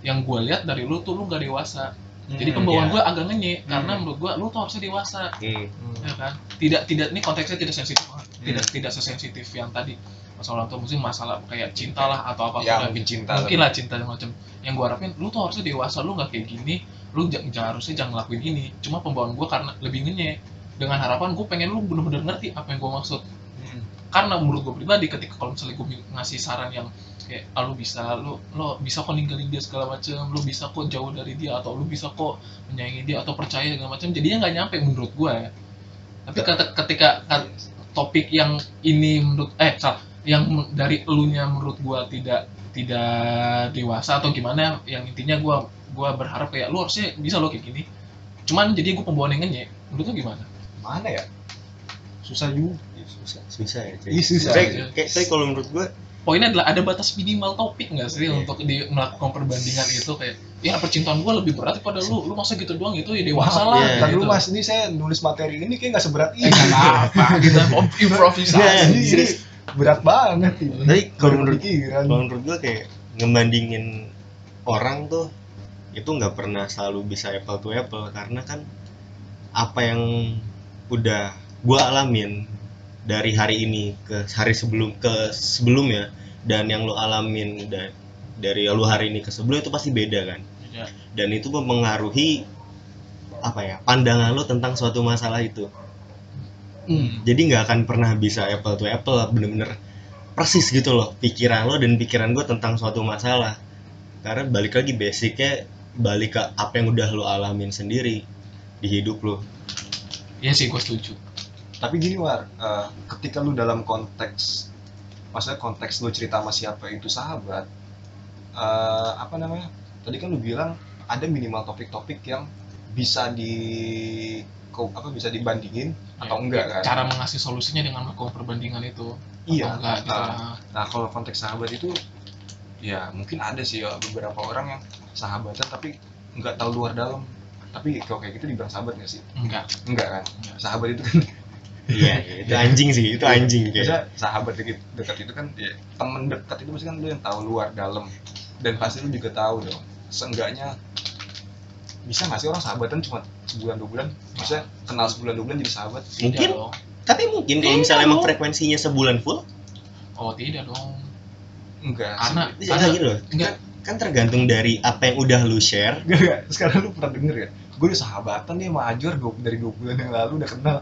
Speaker 1: yang gue lihat dari lu tuh lu nggak dewasa jadi pembawaan
Speaker 2: pembawa- iya.
Speaker 1: gue agak ngenyek
Speaker 3: Hmm.
Speaker 1: karena menurut gue lu tuh harusnya dewasa
Speaker 2: Hmm.
Speaker 1: ya kan tidak tidak ini konteksnya tidak sensitif banget tidak
Speaker 3: Hmm.
Speaker 1: tidak sesensitif yang tadi masalah tuh mungkin masalah kayak cinta lah atau apa
Speaker 3: ya mungkin cinta
Speaker 1: mungkin lah cinta dan macam yang gue harapin lu tuh harusnya dewasa lu nggak kayak gini lu jangan harusnya jangan ngelakuin ini cuma pembawaan gue karena lebih ngenyek dengan harapan gue pengen lu bener-bener ngerti apa yang gue maksud
Speaker 3: Hmm.
Speaker 1: karena menurut gue pribadi ketika kalau misalnya gue ngasih saran yang kayak ah, lu bisa lu lo bisa kok ninggalin dia segala macem lu bisa kok jauh dari dia atau lu bisa kok menyayangi dia atau percaya segala macam jadinya nggak nyampe menurut gue ya tapi kata- ketika topik yang ini menurut eh salah yang men- dari elunya menurut gua tidak tidak dewasa atau gimana yang intinya gua gua berharap kayak lu harusnya bisa lo kayak gini cuman jadi gua pembawaan yang ngenyek menurut lu gimana
Speaker 3: mana ya susah juga
Speaker 2: Ya, susah susah ya
Speaker 3: Iya, susah.
Speaker 2: Tapi- kayak tapi kalau menurut gue
Speaker 1: poinnya adalah ada batas minimal topik nggak sih
Speaker 2: Iya.
Speaker 1: untuk di, melakukan perbandingan itu kayak ya percintaan gua lebih berat daripada lu lu masa gitu doang itu ya dewasa lah
Speaker 2: Iya,
Speaker 3: Dan
Speaker 1: gitu.
Speaker 3: lu mas ini saya nulis materi ini kayak nggak
Speaker 2: *laughs*
Speaker 3: seberat
Speaker 1: Eh,
Speaker 3: ini.
Speaker 1: nggak apa-apa kita improvisasi
Speaker 2: Iya,
Speaker 3: Iya,
Speaker 2: iya.
Speaker 3: serius. berat banget ini.
Speaker 2: tapi kalau menurut
Speaker 3: pikiran.
Speaker 2: kalau menurut gue kayak ngebandingin orang tuh itu nggak pernah selalu bisa apple to apple karena kan apa yang udah gua alamin dari hari ini ke hari sebelum ke sebelumnya dan yang lo alamin da- dari lo hari ini ke sebelumnya itu pasti beda kan
Speaker 1: Iya.
Speaker 2: dan itu mempengaruhi apa ya pandangan lo tentang suatu masalah itu
Speaker 1: Hmm.
Speaker 2: jadi nggak akan pernah bisa apple to apple lah, bener-bener persis gitu loh pikiran lo dan pikiran gue tentang suatu masalah karena balik lagi basicnya balik ke apa yang udah lo alamin sendiri di hidup lo
Speaker 1: Iya sih gua setuju
Speaker 3: Tapi gini war, eh, ketika lu dalam konteks, maksudnya konteks lu cerita sama siapa itu sahabat, eh, apa namanya? Tadi kan lu bilang ada minimal topik-topik yang bisa di ko- apa bisa dibandingin atau
Speaker 1: Ya,
Speaker 3: enggak kan?
Speaker 1: cara mengasih solusinya dengan melakukan perbandingan itu
Speaker 3: Iya.
Speaker 1: atau enggak gitu
Speaker 3: Ah.
Speaker 1: Nah,
Speaker 3: Nah, kalau konteks sahabat itu ya mungkin ada sih ya beberapa orang yang sahabatan tapi nggak tahu luar dalam. tapi kalau kayak gitu dibilang sahabat nggak sih
Speaker 1: enggak
Speaker 3: enggak kan
Speaker 1: Enggak.
Speaker 3: sahabat itu kan
Speaker 2: Iya,
Speaker 1: *laughs*
Speaker 2: itu anjing sih, itu anjing kayak.
Speaker 3: biasa sahabat deket, dekat itu kan ya, temen dekat itu pasti kan lu yang tahu luar dalam dan pasti lu juga tahu dong seenggaknya bisa nggak sih orang sahabatan cuma sebulan dua bulan bisa kenal sebulan dua bulan jadi sahabat
Speaker 2: Mungkin,
Speaker 1: Tidak dong.
Speaker 2: tapi mungkin kalau
Speaker 1: Iya,
Speaker 2: misalnya emang
Speaker 1: Bu.
Speaker 2: frekuensinya sebulan full,
Speaker 1: oh tidak dong
Speaker 2: Nah,
Speaker 3: enggak sih.
Speaker 1: karena
Speaker 2: bisa
Speaker 1: karena
Speaker 2: gitu loh.
Speaker 1: enggak
Speaker 2: Kan tergantung dari apa yang udah lu share.
Speaker 3: Enggak, enggak. Sekarang lu pernah denger ya? Gue udah sahabatan nih sama Ajur dua- dari dua bulan yang lalu udah kenal.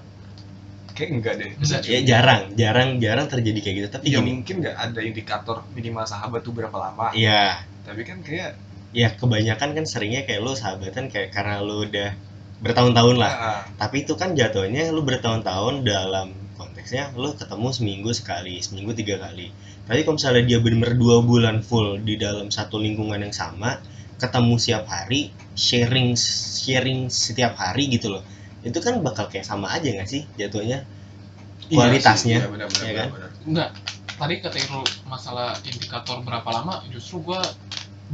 Speaker 3: Kayak enggak deh. Iya,
Speaker 1: Enggak.
Speaker 2: Ya jarang, jarang, jarang terjadi kayak gitu.
Speaker 1: Iya,
Speaker 2: Tapi
Speaker 3: Ya
Speaker 2: gini,
Speaker 3: mungkin nggak ada indikator minimal sahabat tuh berapa lama.
Speaker 2: ya
Speaker 3: Tapi kan kayak
Speaker 2: ya kebanyakan kan seringnya kayak lu sahabatan kayak karena lu udah bertahun-tahun lah
Speaker 3: ah,
Speaker 2: tapi itu kan jatuhnya lu bertahun-tahun dalam konteksnya lu ketemu seminggu sekali seminggu tiga kali tapi kalau misalnya dia bener-bener dua bulan full di dalam satu lingkungan yang sama ketemu setiap hari sharing sharing setiap hari gitu loh itu kan bakal kayak sama aja nggak sih jatuhnya
Speaker 3: iya
Speaker 2: Kualitasnya,
Speaker 3: sih, Iya benar-benar.
Speaker 2: ya kan?
Speaker 3: benar-benar.
Speaker 1: enggak tadi kata Irul masalah indikator berapa lama justru gua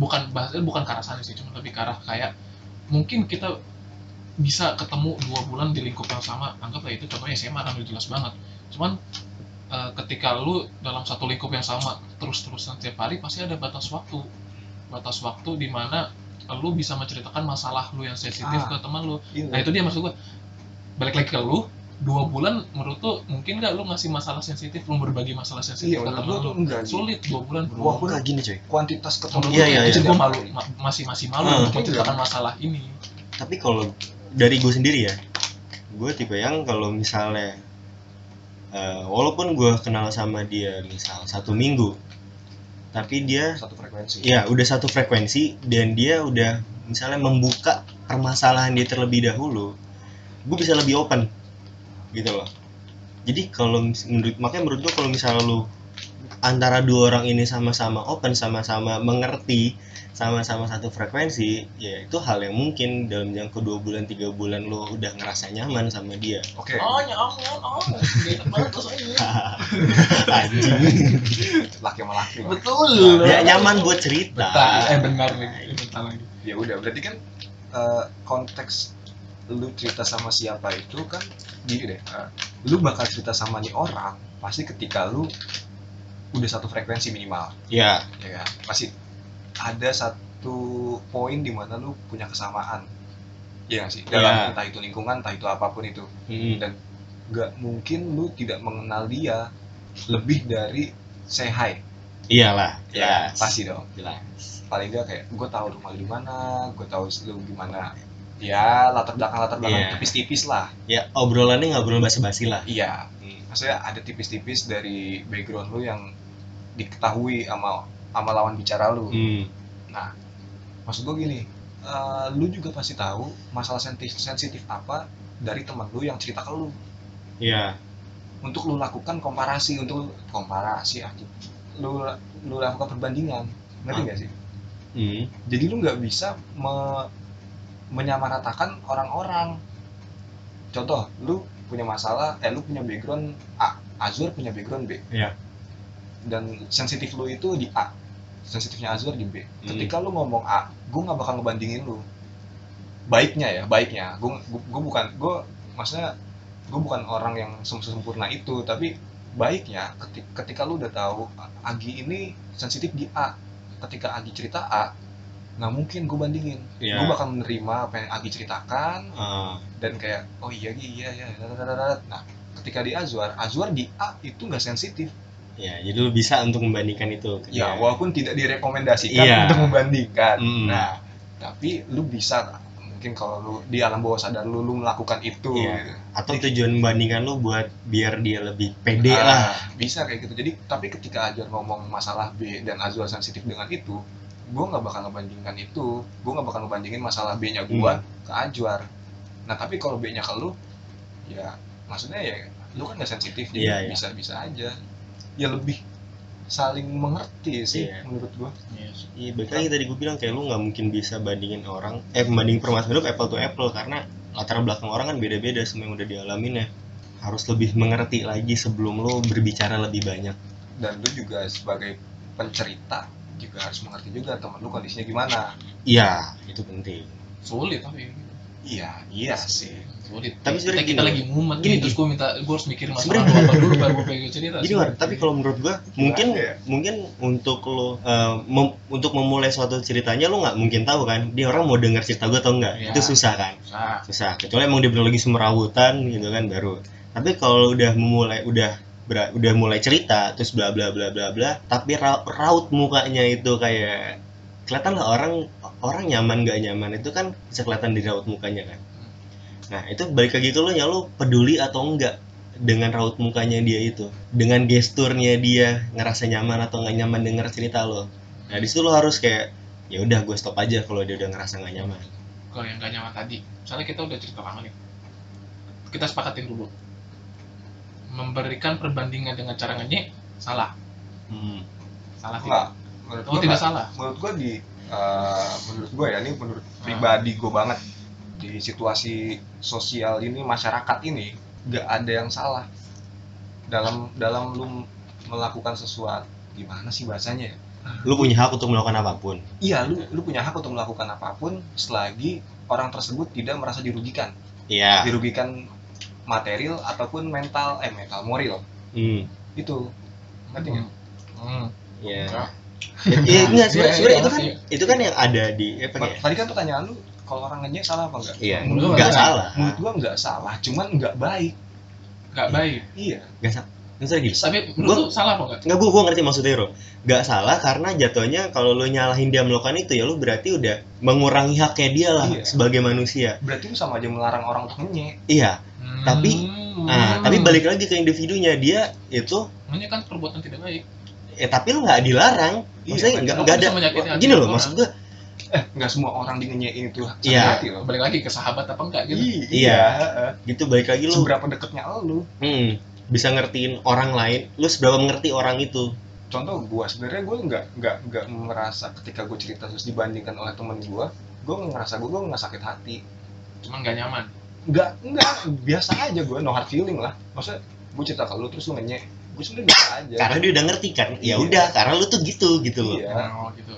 Speaker 1: bukan bahasnya bukan ke arah sana sih cuma lebih ke arah kayak mungkin kita bisa ketemu dua bulan di lingkup yang sama anggaplah itu contohnya SMA kan udah jelas banget cuman eh, ketika lu dalam satu lingkup yang sama terus-terusan tiap hari pasti ada batas waktu batas waktu di mana lu bisa menceritakan masalah lu yang sensitif ke
Speaker 3: Ah.
Speaker 1: teman lu
Speaker 3: Iya.
Speaker 1: Nah itu dia maksud gue Balik lagi ke lu Dua bulan menurut tuh mungkin gak lu ngasih masalah sensitif Lu berbagi masalah sensitif
Speaker 3: Iya,
Speaker 1: ke
Speaker 3: menurut
Speaker 1: teman
Speaker 3: lu
Speaker 1: lu
Speaker 3: tuh enggak sih.
Speaker 1: Sulit dua bulan bro
Speaker 3: Wah,
Speaker 2: nah gini coy
Speaker 3: Kuantitas ketemu
Speaker 1: Menurut
Speaker 2: Iya,
Speaker 1: gua
Speaker 2: iya,
Speaker 1: kayak
Speaker 2: iya.
Speaker 1: gitu, gua malu, ma- masih masih malu
Speaker 2: Hmm.
Speaker 1: untuk menceritakan masalah ini
Speaker 2: tapi kalau dari gue sendiri ya gue tipe yang kalau misalnya eh, walaupun gue kenal sama dia misal satu minggu tapi dia
Speaker 3: satu frekuensi.
Speaker 2: ya udah satu frekuensi dan dia udah misalnya membuka permasalahan dia terlebih dahulu gue bisa lebih open gitu loh jadi kalau mis- menurut makanya menurut gue kalau misalnya lu antara dua orang ini sama-sama open sama-sama mengerti sama-sama satu frekuensi ya itu hal yang mungkin dalam jangka dua bulan tiga bulan lo udah ngerasa nyaman sama dia
Speaker 3: Oke.
Speaker 1: Oh ya ampun, oh Gila banget rasanya.
Speaker 2: anjing
Speaker 3: gitu, Laki sama laki. lah.
Speaker 1: Betul
Speaker 2: ya nyaman Nah. buat cerita
Speaker 1: Bentar, eh bentar nih Bentar lagi
Speaker 3: Ya udah, berarti kan eh, konteks lu cerita sama siapa itu kan gini deh. eh, lu bakal cerita sama nih orang pasti ketika lu udah satu frekuensi minimal.
Speaker 2: ya
Speaker 3: ya kan? masih ada satu poin di mana lu punya kesamaan ya sih dalam
Speaker 2: Iya.
Speaker 3: entah itu lingkungan entah itu apapun itu
Speaker 2: Mm.
Speaker 3: Hmm. nggak mungkin lu tidak mengenal dia lebih dari say hi
Speaker 2: iyalah
Speaker 3: ya
Speaker 2: jelas
Speaker 3: pasti dong
Speaker 2: jelas
Speaker 3: paling nggak kayak gue tahu rumah lu di mana gue tahu lu gimana ya latar belakang latar belakang
Speaker 2: Iya.
Speaker 3: tipis-tipis lah
Speaker 2: ya obrolannya nggak obrolan basa-basi lah
Speaker 3: iya maksudnya ada tipis-tipis dari background lu yang diketahui sama sama lawan bicara lu
Speaker 2: Hmm.
Speaker 3: maksud gue gini eh, lu juga pasti tahu masalah sensitif sensitif apa dari teman lu yang cerita ke lu
Speaker 2: Ya,
Speaker 3: untuk lu lakukan komparasi untuk lu- komparasi anjing lu lu lakukan perbandingan ngerti
Speaker 2: Ah.
Speaker 3: nggak sih
Speaker 2: hmm.
Speaker 3: jadi lu nggak bisa me- menyamaratakan orang-orang contoh lu punya masalah eh lu punya background A Azur punya background B
Speaker 2: Iya.
Speaker 3: dan sensitif lu itu di A sensitifnya Azur di B ketika lu ngomong A gue nggak bakal ngebandingin lu baiknya ya baiknya gue bukan gue maksudnya gue bukan orang yang sem- sempurna itu tapi baiknya keti- ketika lu udah tahu Agi ini sensitif di A ketika Agi cerita A nggak mungkin gue bandingin
Speaker 2: Iya.
Speaker 3: gue bakal menerima apa yang Agi ceritakan
Speaker 2: Ah,
Speaker 3: dan kayak oh iya Gi, iya iya dadadadadad. nah ketika di Azwar Azwar di A itu nggak sensitif
Speaker 2: ya, jadi lu bisa untuk membandingkan itu. ke dia.
Speaker 3: ya walaupun tidak direkomendasikan
Speaker 2: Iya.
Speaker 3: untuk membandingkan
Speaker 2: Mm.
Speaker 3: Nah, tapi lu bisa mungkin kalau lu di alam bawah sadar lu, lu melakukan itu
Speaker 2: Iya.
Speaker 3: gitu.
Speaker 2: Atau tujuan membandingkan lu buat biar dia lebih pede
Speaker 3: Ah,
Speaker 2: lah.
Speaker 3: Bisa kayak gitu. Jadi tapi ketika Azwar ngomong masalah B dan Azwar sensitif dengan itu, gua nggak bakal ngebandingkan itu. Gua nggak bakal ngebandingin masalah B-nya gua ke Azwar. Nah, tapi kalau B-nya ke lu ya maksudnya ya lu kan nggak sensitif jadi
Speaker 2: Iya, iya.
Speaker 3: bisa-bisa aja. Ya lebih saling mengerti sih
Speaker 2: Iya.
Speaker 3: menurut gua.
Speaker 2: Iya, balik lagi tadi gue bilang kayak lu nggak mungkin bisa bandingin orang, eh bandingin permasalahan hidup apple to apple karena latar belakang orang kan beda-beda semua yang udah dialamin ya. Harus lebih mengerti lagi sebelum lu berbicara lebih banyak.
Speaker 3: Dan lu juga sebagai pencerita juga harus mengerti juga teman lu kondisinya gimana.
Speaker 2: Iya, itu penting.
Speaker 1: Sulit tapi
Speaker 3: iya iya sih
Speaker 1: sulit
Speaker 2: Tapi
Speaker 1: kita,
Speaker 2: sebenarnya
Speaker 1: kita
Speaker 2: gini,
Speaker 1: lagi mumet
Speaker 2: gini,
Speaker 1: gini terus gue minta gue harus mikirin masalah
Speaker 2: Sebenarnya-
Speaker 1: apa dulu baru gue pengen cerita
Speaker 2: Gini War, tapi kalau menurut gua mungkin
Speaker 3: Iya.
Speaker 2: mungkin untuk lo eh, mem- untuk memulai suatu ceritanya lo nggak mungkin tahu kan dia orang mau dengar cerita gua atau enggak
Speaker 1: Iya.
Speaker 2: itu susah kan
Speaker 1: Susah.
Speaker 2: susah kecuali emang dia bener lagi semerawutan gitu kan baru tapi kalau udah memulai udah bera- udah mulai cerita terus bla bla bla bla bla tapi ra- raut mukanya itu kayak kelihatan lah orang orang nyaman gak nyaman itu kan bisa kelihatan di raut mukanya kan nah itu balik lagi ke lu ya lu peduli atau enggak dengan raut mukanya dia itu dengan gesturnya dia ngerasa nyaman atau nggak nyaman denger cerita lo nah di situ lo harus kayak ya udah gue stop aja kalau dia udah ngerasa nggak nyaman
Speaker 1: kalau yang gak nyaman tadi misalnya kita udah cerita lama nih kita sepakatin dulu memberikan perbandingan dengan cara ngenyek salah
Speaker 2: Hmm.
Speaker 1: salah tidak
Speaker 3: enggak menurut
Speaker 1: oh
Speaker 3: gua
Speaker 1: tidak
Speaker 3: nggak.
Speaker 1: salah
Speaker 3: menurut gua di eh, menurut gua ya ini menurut pribadi gua banget di situasi sosial ini masyarakat ini nggak ada yang salah dalam dalam lu melakukan sesuatu gimana sih bahasanya ya?
Speaker 2: lu punya hak untuk melakukan apapun
Speaker 3: Iya, lu, lu punya hak untuk melakukan apapun selagi orang tersebut tidak merasa dirugikan.
Speaker 2: iya
Speaker 3: Dirugikan material ataupun mental, eh mental moral.
Speaker 2: hmm
Speaker 3: Itu. Ngerti nggak?
Speaker 1: hmm.
Speaker 2: iya
Speaker 1: Enggak.
Speaker 2: Iya, enggak sebenarnya
Speaker 1: Iya,
Speaker 2: sebenarnya
Speaker 1: iya,
Speaker 2: itu kan
Speaker 1: iya.
Speaker 2: itu kan yang ada di apa
Speaker 3: Ma-
Speaker 2: ya
Speaker 3: Tadi kan pertanyaan lu, kalau orang ngenyek salah apa enggak?
Speaker 2: iya
Speaker 1: Menurut gua
Speaker 2: nggak
Speaker 1: nggak
Speaker 2: salah
Speaker 3: Menurut gua nggak salah, cuman nggak baik.
Speaker 1: nggak baik
Speaker 3: Iya.
Speaker 2: nggak salah nggak salah gitu
Speaker 1: tapi menurut lu salah apa enggak
Speaker 2: nggak gua gua ngerti maksudnya Ro nggak salah karena jatuhnya kalau lu nyalahin dia melakukan itu ya lu berarti udah mengurangi haknya dia lah
Speaker 3: Iya.
Speaker 2: sebagai manusia
Speaker 3: Berarti lu sama aja melarang orang untuk ngenyek.
Speaker 2: iya Tapi-
Speaker 1: Hmm.
Speaker 2: nah tapi balik lagi ke individunya dia itu
Speaker 1: Namanya kan perbuatan tidak baik
Speaker 2: eh tapi lu nggak dilarang
Speaker 3: Iya,
Speaker 2: maksudnya
Speaker 1: kan.
Speaker 2: nggak
Speaker 3: berarti
Speaker 1: lu bisa
Speaker 2: nggak ada
Speaker 1: menyakiti hati
Speaker 2: gini loh
Speaker 1: orang.
Speaker 2: maksud gua
Speaker 3: Eh, nggak semua orang di ngenyekin itu sakit
Speaker 2: Iya.
Speaker 3: hati loh.
Speaker 1: balik lagi ke sahabat apa enggak gitu
Speaker 3: Iya.
Speaker 2: Iya.
Speaker 3: heeh.
Speaker 2: gitu balik lagi lu
Speaker 3: Seberapa deketnya lu?
Speaker 2: hmm, bisa ngertiin orang lain lu seberapa mengerti orang itu
Speaker 3: contoh gua sebenarnya gua nggak nggak nggak merasa ketika gue cerita terus dibandingkan oleh temen gua gua nggak ngerasa gua gua nggak sakit hati
Speaker 1: cuma nggak nyaman
Speaker 3: nggak nggak biasa aja gua no hard feeling lah maksudnya gue cerita ke lu terus lu ngenyek gue sebenarnya biasa aja
Speaker 2: karena dia udah ngerti kan ya
Speaker 3: Iya.
Speaker 2: udah karena lu tuh gitu gitu loh
Speaker 3: iya
Speaker 1: oh gitu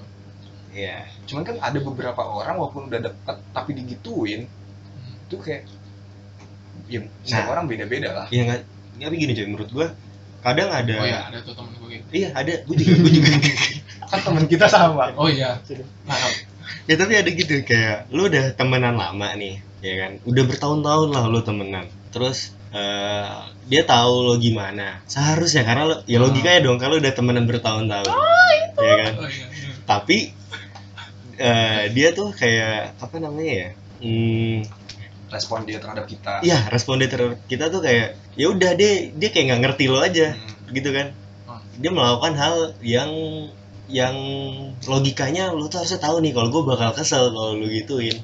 Speaker 2: Iya.
Speaker 3: cuman kan ada beberapa orang walaupun udah deket tapi digituin
Speaker 1: Hmm.
Speaker 3: itu kayak ya, setiap
Speaker 2: Nah.
Speaker 3: orang beda-beda lah
Speaker 2: Iya nggak? Nggak, Tapi gini coy, menurut gua kadang ada.
Speaker 1: oh iya ada tuh temen gue gitu
Speaker 2: Iya, ada. Gue juga, gua juga. *laughs*
Speaker 3: kan temen kita sama
Speaker 1: oh iya Nah,
Speaker 2: ya tapi ada gitu kayak lu udah temenan lama nih, ya kan? Udah bertahun-tahun lah lu temenan. Terus eh, dia tahu lo gimana. Seharusnya karena lo, ya logikanya dong kalau udah temenan bertahun-tahun. Ya kan?
Speaker 1: oh iya iya.
Speaker 2: Tapi eh, dia tuh kayak apa namanya ya? Hmm,
Speaker 3: respon dia terhadap kita
Speaker 2: ya respon dia terhadap kita tuh kayak ya udah dia dia kayak nggak ngerti lo aja.
Speaker 3: Hmm.
Speaker 2: gitu kan
Speaker 1: Hmm.
Speaker 2: dia melakukan hal yang yang logikanya lu tuh harusnya tahu nih kalau gue bakal kesel kalau lu gituin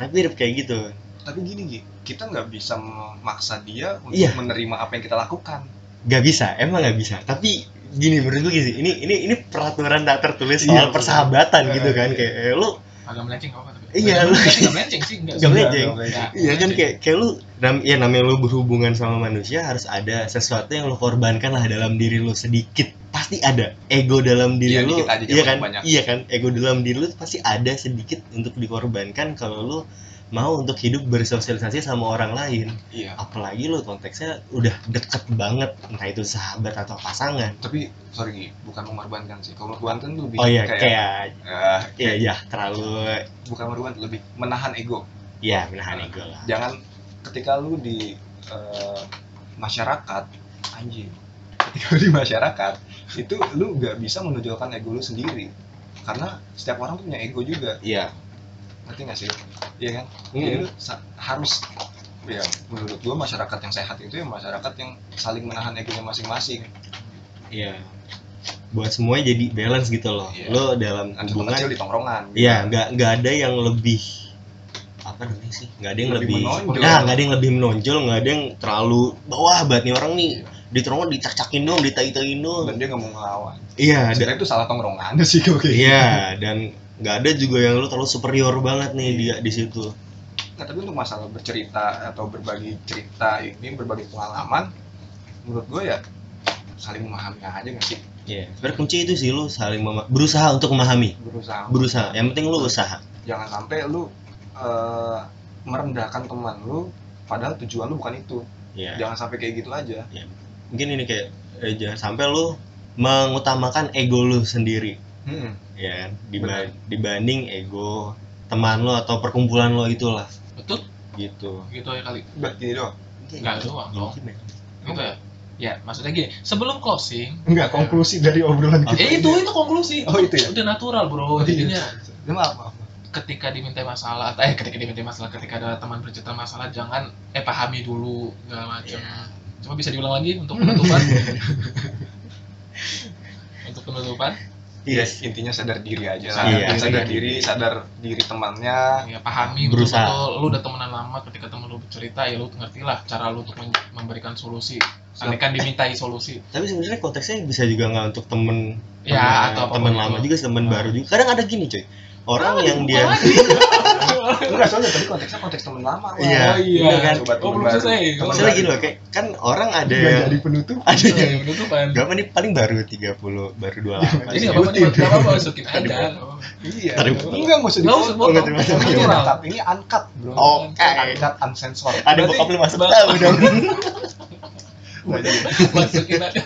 Speaker 2: tapi hidup kayak gitu
Speaker 3: tapi gini Gi, kita nggak bisa memaksa dia untuk
Speaker 2: Iya.
Speaker 3: menerima apa yang kita lakukan
Speaker 2: nggak bisa emang nggak bisa tapi gini menurut gue gini ini ini ini peraturan tak tertulis soal
Speaker 3: Iya,
Speaker 2: persahabatan gitu kan kayak eh, lu
Speaker 1: agak melenceng nggak apa-apa tapi
Speaker 2: Iya, lu-
Speaker 1: nggak melenceng sih nggak sih.
Speaker 2: Nggak melenceng.
Speaker 1: Nggak
Speaker 2: iya kan
Speaker 1: melenceng.
Speaker 2: kayak kayak lu nam- ya namanya lu berhubungan sama manusia harus ada sesuatu yang lu korbankan lah dalam diri lu sedikit pasti ada ego dalam diri
Speaker 3: Iya,
Speaker 2: lu
Speaker 3: dikit aja,
Speaker 2: iya
Speaker 3: jangan
Speaker 2: kan
Speaker 3: banyak.
Speaker 2: iya kan ego dalam diri lu tuh pasti ada sedikit untuk dikorbankan kalau lu mau untuk hidup bersosialisasi sama orang lain
Speaker 3: iya
Speaker 2: apalagi lu konteksnya udah deket banget entah itu sahabat atau pasangan
Speaker 3: tapi sorry Gi, bukan mengorbankan sih kalau mengorbankan tuh lebih
Speaker 2: oh iya
Speaker 3: kayak,
Speaker 2: kayak
Speaker 3: eh,
Speaker 2: iya ya terlalu
Speaker 3: bukan mengorbankan lebih menahan ego
Speaker 2: ya menahan ego lah
Speaker 3: jangan ketika lu di eh, masyarakat anjing ketika lu di masyarakat itu lu nggak bisa menonjolkan ego lu sendiri karena setiap orang tuh punya ego juga
Speaker 2: iya
Speaker 3: ngerti nggak sih iya kan jadi
Speaker 2: Mm.
Speaker 3: lu sa- harus ya menurut gua masyarakat yang sehat itu ya masyarakat yang saling menahan egonya masing-masing
Speaker 2: iya buat semuanya jadi balance gitu loh
Speaker 3: Iya.
Speaker 2: lo dalam
Speaker 3: ada teman
Speaker 2: hubungan
Speaker 3: kecil di tongkrongan
Speaker 2: Iya, nggak nggak ada yang lebih apa namanya sih? Nggak ada yang
Speaker 3: Lebih
Speaker 2: lebih,
Speaker 3: menonjol.
Speaker 2: nah nggak ada yang lebih menonjol, nggak ada yang terlalu bawah banget nih orang nih di tongkrong dicak-cakin dong, ditai-taiin dong.
Speaker 3: dan dia nggak mau ngelawan
Speaker 2: Iya, ada.
Speaker 3: sebenarnya itu salah tongkrongan sih kalau kayak
Speaker 2: Iya, dan nggak ada juga yang lu terlalu superior banget nih dia di situ.
Speaker 3: Nah, tapi untuk masalah bercerita atau berbagi cerita ini, berbagi pengalaman, menurut gue ya saling memahami aja nggak sih?
Speaker 2: Iya. Sebenarnya kunci itu sih lu saling mema- berusaha untuk memahami,
Speaker 3: Berusaha.
Speaker 2: berusaha. Yang penting lu usaha.
Speaker 3: Jangan sampai lu eh, merendahkan teman lu padahal tujuan lu bukan itu
Speaker 2: ya
Speaker 3: jangan sampai kayak gitu aja
Speaker 2: mungkin ini kayak eh, jangan sampai lu mengutamakan ego lu sendiri
Speaker 3: hmm.
Speaker 2: ya kan? Diba- dibanding ego teman lo atau perkumpulan lo itulah
Speaker 1: betul
Speaker 2: gitu
Speaker 1: gitu ya kali
Speaker 3: udah gini doang
Speaker 1: Enggak doang dong.
Speaker 2: Gimana?
Speaker 3: Oh.
Speaker 1: enggak ya maksudnya gini sebelum closing
Speaker 3: enggak konklusi dari obrolan kita
Speaker 1: ya itu itu konklusi
Speaker 3: Oh, itu ya?
Speaker 1: udah natural bro
Speaker 3: Oh, iya.
Speaker 1: jadinya
Speaker 3: Ya, maaf maaf
Speaker 1: ketika diminta masalah eh ketika diminta masalah ketika ada teman bercerita masalah jangan eh pahami dulu segala macam
Speaker 3: Iya.
Speaker 1: cuma bisa diulang lagi untuk
Speaker 3: *laughs*
Speaker 1: penutupan untuk penutupan
Speaker 2: yes
Speaker 3: Ya, intinya sadar diri aja lah
Speaker 1: Sadar
Speaker 2: Iya. diri.
Speaker 3: sadar diri sadar diri temannya
Speaker 1: ya pahami
Speaker 2: Berusaha.
Speaker 1: betul-betul. lu udah temenan lama ketika temen lu bercerita ya lu ngerti lah cara lu untuk men- memberikan solusi kan dimintai solusi
Speaker 2: tapi sebenarnya konteksnya bisa juga nggak untuk temen
Speaker 1: ya
Speaker 2: temen-
Speaker 1: atau apapun
Speaker 2: temen
Speaker 1: itu.
Speaker 2: lama juga temen
Speaker 1: Ah.
Speaker 2: baru juga kadang ada gini cuy orang
Speaker 1: Ah,
Speaker 2: yang
Speaker 1: dibuka
Speaker 2: dia
Speaker 1: lagi.
Speaker 3: enggak soalnya tadi konteksnya konteks teman lama Wak.
Speaker 2: Iya.
Speaker 1: oh iya
Speaker 2: Iya kan?
Speaker 1: oh belum selesai
Speaker 3: Temen
Speaker 2: misalnya
Speaker 3: baru.
Speaker 2: gini loh kayak kan orang ada
Speaker 3: Nggak
Speaker 2: yang
Speaker 3: jadi penutup
Speaker 2: ada
Speaker 1: Iya,
Speaker 2: yang
Speaker 1: penutupan
Speaker 2: gak apa nih paling baru 30 baru 28
Speaker 1: jadi nggak apa-apa nih, nggak apa-apa masukin aja
Speaker 2: Tadi-
Speaker 1: nggak apa-apa.
Speaker 3: iya
Speaker 2: Tadi-
Speaker 3: enggak nggak usah
Speaker 1: nggak usah
Speaker 2: Oh, nggak
Speaker 1: potong
Speaker 2: terima- terima-
Speaker 1: natural
Speaker 3: Natural. ini uncut bro
Speaker 2: Oke.
Speaker 3: uncut
Speaker 2: Oh,
Speaker 3: unsensor
Speaker 2: eh. ada
Speaker 1: Berarti-
Speaker 3: *laughs*
Speaker 2: bokap lu masuk
Speaker 1: Bang-
Speaker 2: tahu dong *laughs*
Speaker 1: masukin aja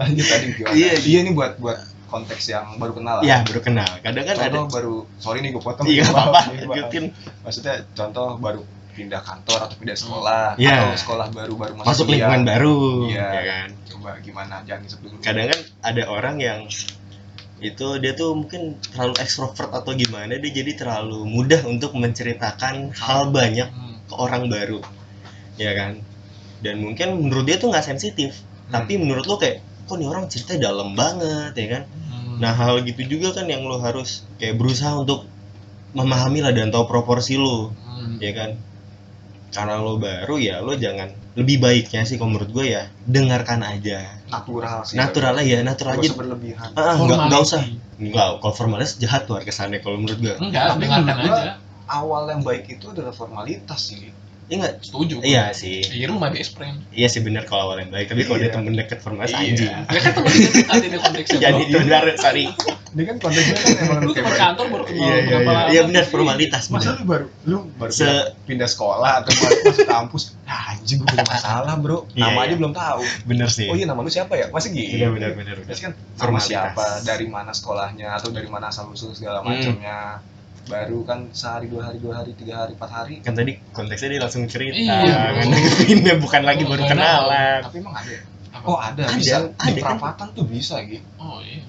Speaker 3: lanjut tadi gimana
Speaker 2: Iya.
Speaker 3: iya ini buat buat konteks yang baru kenal lah.
Speaker 2: ya baru kenal kadang kan ada
Speaker 3: contoh baru sorry nih gue potong
Speaker 2: iya
Speaker 3: Maaf,
Speaker 2: nggak apa-apa
Speaker 3: maaf.
Speaker 2: lanjutin
Speaker 3: maksudnya contoh baru pindah kantor atau pindah sekolah
Speaker 2: Iya.
Speaker 3: atau sekolah baru baru
Speaker 2: masuk
Speaker 3: kuliah.
Speaker 2: lingkungan baru
Speaker 3: Iya.
Speaker 2: ya kan
Speaker 3: coba gimana jangan ngisep dulu
Speaker 2: kadang kan ada orang yang itu dia tuh mungkin terlalu ekstrovert atau gimana dia jadi terlalu mudah untuk menceritakan hal banyak ke orang baru ya kan dan mungkin menurut dia tuh nggak sensitif tapi menurut lo kayak kok nih orang ceritanya dalam banget ya kan nah hal gitu juga kan yang lo harus kayak berusaha untuk memahami lah dan tahu proporsi lo ya kan karena lo baru ya lo jangan lebih baiknya sih kalau menurut gue ya dengarkan aja
Speaker 3: natural sih
Speaker 2: Hmm. natural aja
Speaker 3: Nggak
Speaker 2: natural
Speaker 3: usah
Speaker 2: aja
Speaker 3: berlebihan
Speaker 2: Ah, ah, nggak nggak usah nggak kalau formalis jahat tuh kesannya kalau menurut gue
Speaker 1: enggak
Speaker 3: Tapi
Speaker 1: dengarkan
Speaker 3: menurut gua-
Speaker 1: aja
Speaker 3: awal yang baik itu adalah formalitas sih
Speaker 2: iya nggak
Speaker 1: setuju
Speaker 2: iya sih
Speaker 1: iya lu my best friend
Speaker 2: iya sih bener kalau awal yang baik tapi kalau
Speaker 3: Iya.
Speaker 2: dia temen deket formalis
Speaker 3: Iya.
Speaker 2: anjing
Speaker 1: ya kan temen deket ada di konteksnya
Speaker 2: jadi
Speaker 1: bro.
Speaker 2: benar sorry
Speaker 3: ini kan konteksnya kan emang
Speaker 1: lu
Speaker 3: kayak
Speaker 1: teman
Speaker 3: baru-
Speaker 1: kantor baru kenal
Speaker 2: iya iya
Speaker 1: berapa
Speaker 2: iya
Speaker 1: lama
Speaker 2: iya benar
Speaker 1: sih?
Speaker 2: formalitas
Speaker 3: masa
Speaker 2: benar
Speaker 3: lu baru lu baru
Speaker 2: se
Speaker 3: pindah- pindah sekolah atau baru masuk kampus ah anjing gue punya masalah bro
Speaker 2: Iya,
Speaker 3: nama
Speaker 2: iya.
Speaker 3: aja belum tahu
Speaker 2: benar sih Iya,
Speaker 3: oh iya nama lu siapa ya masih gitu
Speaker 2: benar benar benar benar
Speaker 3: Terus kan sama
Speaker 2: Formalitas.
Speaker 3: siapa, dari mana sekolahnya, atau dari mana asal usul segala
Speaker 2: Hmm.
Speaker 3: macamnya. Baru kan sehari, dua hari, dua hari, tiga hari, empat hari.
Speaker 2: kan tadi konteksnya dia langsung cerita
Speaker 1: Iya.
Speaker 2: kan ini bukan lagi
Speaker 1: Oh,
Speaker 2: baru
Speaker 1: karena-
Speaker 2: kenalan
Speaker 3: Tapi emang ada. ya?
Speaker 1: Apa?
Speaker 3: Oh ada,
Speaker 2: Ada,
Speaker 3: bisa di
Speaker 2: ada kan?
Speaker 3: perapatan tuh bisa gitu.
Speaker 1: oh iya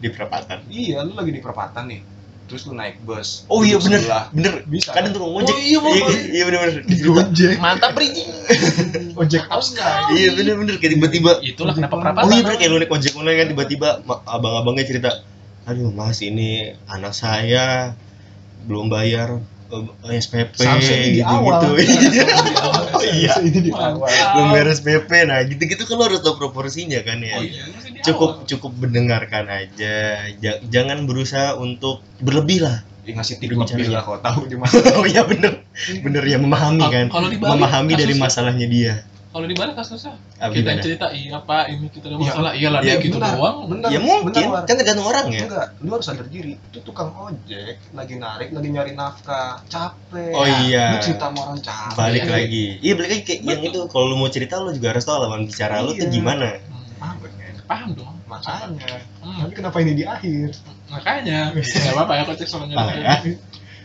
Speaker 2: di perempatan
Speaker 3: Iya, lu lagi di perapatan nih. Terus lu naik bus.
Speaker 2: Oh iya,
Speaker 3: duduk
Speaker 2: bener.
Speaker 3: sebelah.
Speaker 2: bener
Speaker 3: Bisa.
Speaker 2: kadang tukang ojek
Speaker 1: Oh, iya, mau balik.
Speaker 2: iya bener bener
Speaker 3: ojek.
Speaker 1: mantap bridging
Speaker 3: Ojek
Speaker 1: Mantap sekali.
Speaker 2: iya bener bener kayak tiba-tiba
Speaker 1: itulah kenapa
Speaker 3: Oh,
Speaker 1: perapatan
Speaker 2: oh iya bener kayak lu naik ojek online kan tiba-tiba ma- abang-abangnya cerita aduh mas ini anak saya belum bayar eh, SPP
Speaker 3: Seharusnya ini di
Speaker 2: gitu
Speaker 3: awal.
Speaker 2: gitu oh iya
Speaker 3: Ini di
Speaker 1: Mantap.
Speaker 3: awal.
Speaker 2: *laughs* belum
Speaker 1: *laughs*
Speaker 2: bayar SPP nah gitu-gitu kan lu harus tahu proporsinya kan ya
Speaker 1: Oh iya, masih di
Speaker 2: cukup
Speaker 1: awal.
Speaker 2: cukup mendengarkan aja Ja- jangan berusaha untuk berlebih lah *laughs*
Speaker 3: Ya, ngasih tip
Speaker 2: Udah
Speaker 3: lebih
Speaker 2: bicara.
Speaker 3: lah kalau tahu *laughs* cuma.
Speaker 2: oh iya bener bener ya memahami
Speaker 1: Kalau-
Speaker 2: kan
Speaker 1: kalau dibalik,
Speaker 2: memahami dari
Speaker 1: kasusnya.
Speaker 2: masalahnya dia
Speaker 1: kalau di balik kasusnya
Speaker 2: Ah,
Speaker 1: kita
Speaker 2: gimana?
Speaker 1: cerita iya pak ini kita ada
Speaker 3: Iya.
Speaker 1: masalah iyalah
Speaker 2: Iya,
Speaker 1: dia gitu
Speaker 3: benar.
Speaker 1: doang
Speaker 3: Bener,
Speaker 2: ya
Speaker 3: bener,
Speaker 2: mungkin
Speaker 3: War.
Speaker 2: kan tergantung orang ya
Speaker 3: Enggak, lu harus sadar diri. Itu tukang ojek lagi narik, lagi nyari nafkah, capek.
Speaker 2: Oh iya.
Speaker 3: Lu cerita sama orang capek.
Speaker 2: balik
Speaker 1: Iya.
Speaker 2: lagi iya balik lagi kayak yang
Speaker 1: Betul.
Speaker 2: itu kalau lu mau cerita lu juga harus tahu lawan bicara lu tuh
Speaker 3: Iya.
Speaker 2: gimana
Speaker 1: Hmm,
Speaker 3: Paham gak, Nen?
Speaker 1: paham dong
Speaker 3: Makanya.
Speaker 1: Hmm,
Speaker 3: Tapi kenapa ini di akhir?
Speaker 1: makanya nggak apa-apa ya kocek sama
Speaker 2: Parah
Speaker 1: nyari
Speaker 2: ya.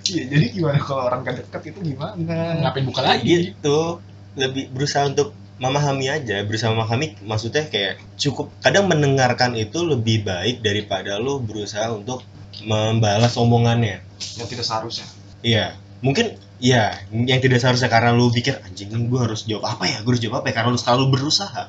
Speaker 3: Iya, jadi gimana kalau orang gak deket itu gimana?
Speaker 1: ngapain buka
Speaker 2: Kayak
Speaker 1: lagi
Speaker 2: gitu lebih berusaha untuk memahami aja berusaha memahami maksudnya kayak cukup kadang mendengarkan itu lebih baik daripada lu berusaha untuk membalas omongannya
Speaker 3: Yang tidak seharusnya.
Speaker 2: Iya, mungkin ya yang tidak seharusnya karena lu pikir anjing kan gue harus jawab apa ya, gue harus jawab apa ya karena lu selalu berusaha.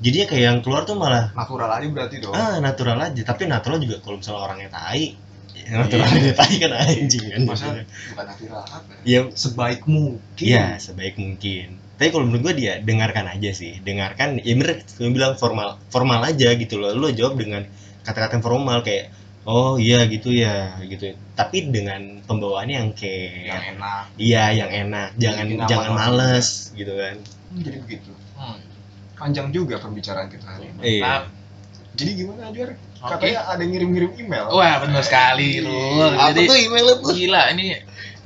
Speaker 2: Jadinya kayak yang keluar tuh malah
Speaker 3: Natural aja berarti dong.
Speaker 2: ah natural aja, tapi natural juga kalau misalnya orangnya tai, ya, natural aja tai kan anjing kan.
Speaker 3: Maksudnya bukan natural apa ya?
Speaker 2: Iya,
Speaker 3: Sebaik mungkin.
Speaker 2: iya sebaik mungkin. Tapi kalau menurut gue dia dengarkan aja sih, dengarkan ya bener lu bilang formal formal aja gitu loh, lu jawab dengan kata-kata yang formal kayak oh iya gitu ya gitu tapi dengan pembawaannya yang kayak
Speaker 3: Yang enak.
Speaker 2: Iya, yang enak. Jangan
Speaker 3: Bikin apa
Speaker 2: jangan
Speaker 3: doang.
Speaker 2: males gitu kan.
Speaker 3: Jadi begitu.
Speaker 1: Hmm,
Speaker 3: Panjang juga pembicaraan kita hari
Speaker 2: Iya.
Speaker 3: ini.
Speaker 1: mantap.
Speaker 3: Jadi gimana, Jar?
Speaker 1: Oke.
Speaker 3: Katanya ada yang ngirim-ngirim email.
Speaker 1: Iya. wah benar sekali Rul
Speaker 2: Apa
Speaker 1: jadi
Speaker 2: tuh email lu?
Speaker 1: gila ini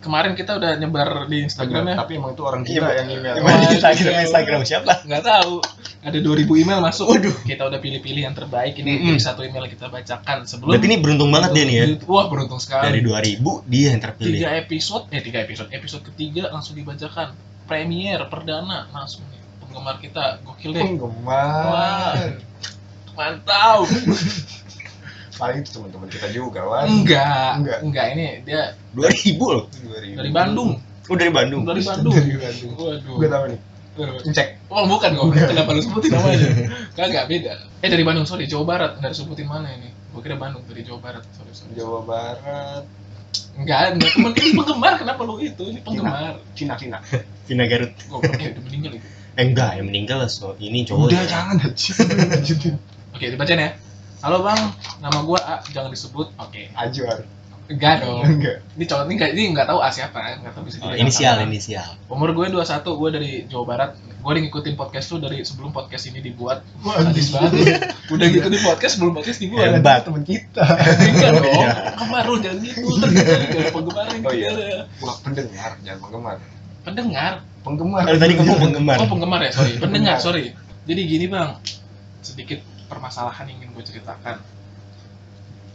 Speaker 1: kemarin kita udah nyebar di Instagram ya.
Speaker 3: tapi emang itu orang
Speaker 2: Iya,
Speaker 3: gila
Speaker 2: Pak.
Speaker 3: yang email
Speaker 1: Iya, Pak.
Speaker 2: *laughs* Gimana Instagram Instagram siapa?
Speaker 1: Nggak tahu. Ada 2000 email masuk. Waduh. Kita udah pilih-pilih yang terbaik ini
Speaker 2: Mm-mm.
Speaker 1: jadi satu email kita bacakan sebelum
Speaker 2: Berarti ini beruntung banget dia nih ya.
Speaker 1: Wah, beruntung sekali.
Speaker 2: Dari 2000 dia yang terpilih.
Speaker 1: tiga episode eh tiga episode episode ketiga langsung dibacakan premier perdana langsung nih. penggemar kita gokil deh Wah.
Speaker 3: penggemar
Speaker 1: mantap
Speaker 3: paling itu teman-teman kita juga wan
Speaker 1: Hmm. enggak
Speaker 3: Enggak.
Speaker 1: enggak ini dia
Speaker 2: 2000 loh.
Speaker 1: dari Bandung
Speaker 2: Oh dari
Speaker 1: *laughs*
Speaker 2: Bandung.
Speaker 1: dari Bandung
Speaker 3: Bandung dari Bandung
Speaker 1: waduh
Speaker 3: gue tahu nih cek
Speaker 1: Oh, bukan kok kenapa lu sebutin namanya kagak beda eh dari Bandung sorry Jawa Barat nggak disebutin mana ini gua kira Bandung dari Jawa Barat sorry sorry
Speaker 3: Jawa Barat
Speaker 1: enggak enggak teman ini penggemar kenapa lu itu ini penggemar
Speaker 3: Cina Cina
Speaker 2: Vina Garut.
Speaker 1: gua eh udah meninggal itu
Speaker 2: Eh, enggak, yang meninggal lah so. ini cowok. ya.
Speaker 3: udah jangan aja lanjutin
Speaker 1: Oke, dibacain ya. Halo Bang, nama gua A, jangan disebut. Oke.
Speaker 3: Ajuar
Speaker 1: Enggak dong.
Speaker 3: *laughs* enggak
Speaker 1: Ini cowok ini enggak ini enggak tahu A siapa, enggak tahu bisa
Speaker 2: Oh,
Speaker 1: dibilang
Speaker 2: inisial,
Speaker 1: apa.
Speaker 2: inisial.
Speaker 1: Umur gue 21, gue dari Jawa Barat. Gue udah ngikutin podcast lu dari sebelum podcast ini dibuat.
Speaker 3: Wah,
Speaker 1: Sadis banget. Udah ngikutin podcast sebelum podcast dibuat.
Speaker 2: Hebat.
Speaker 3: teman kita
Speaker 1: Enggak
Speaker 2: Oh,
Speaker 1: dong.
Speaker 2: iya.
Speaker 1: Kemaru jangan gitu. Ternyata lu dari penggemarnya
Speaker 3: Oh, iya.
Speaker 1: gitu.
Speaker 3: Wah, pendengar jangan penggemar
Speaker 1: Pendengar.
Speaker 3: penggemar
Speaker 2: Aduh, tadi kamu penggemar.
Speaker 1: iya. Oh, penggemar ya, sorry. Pendengar,
Speaker 3: Pendengar.
Speaker 1: sorry. Jadi gini, Bang. Sedikit permasalahan yang ingin gue ceritakan.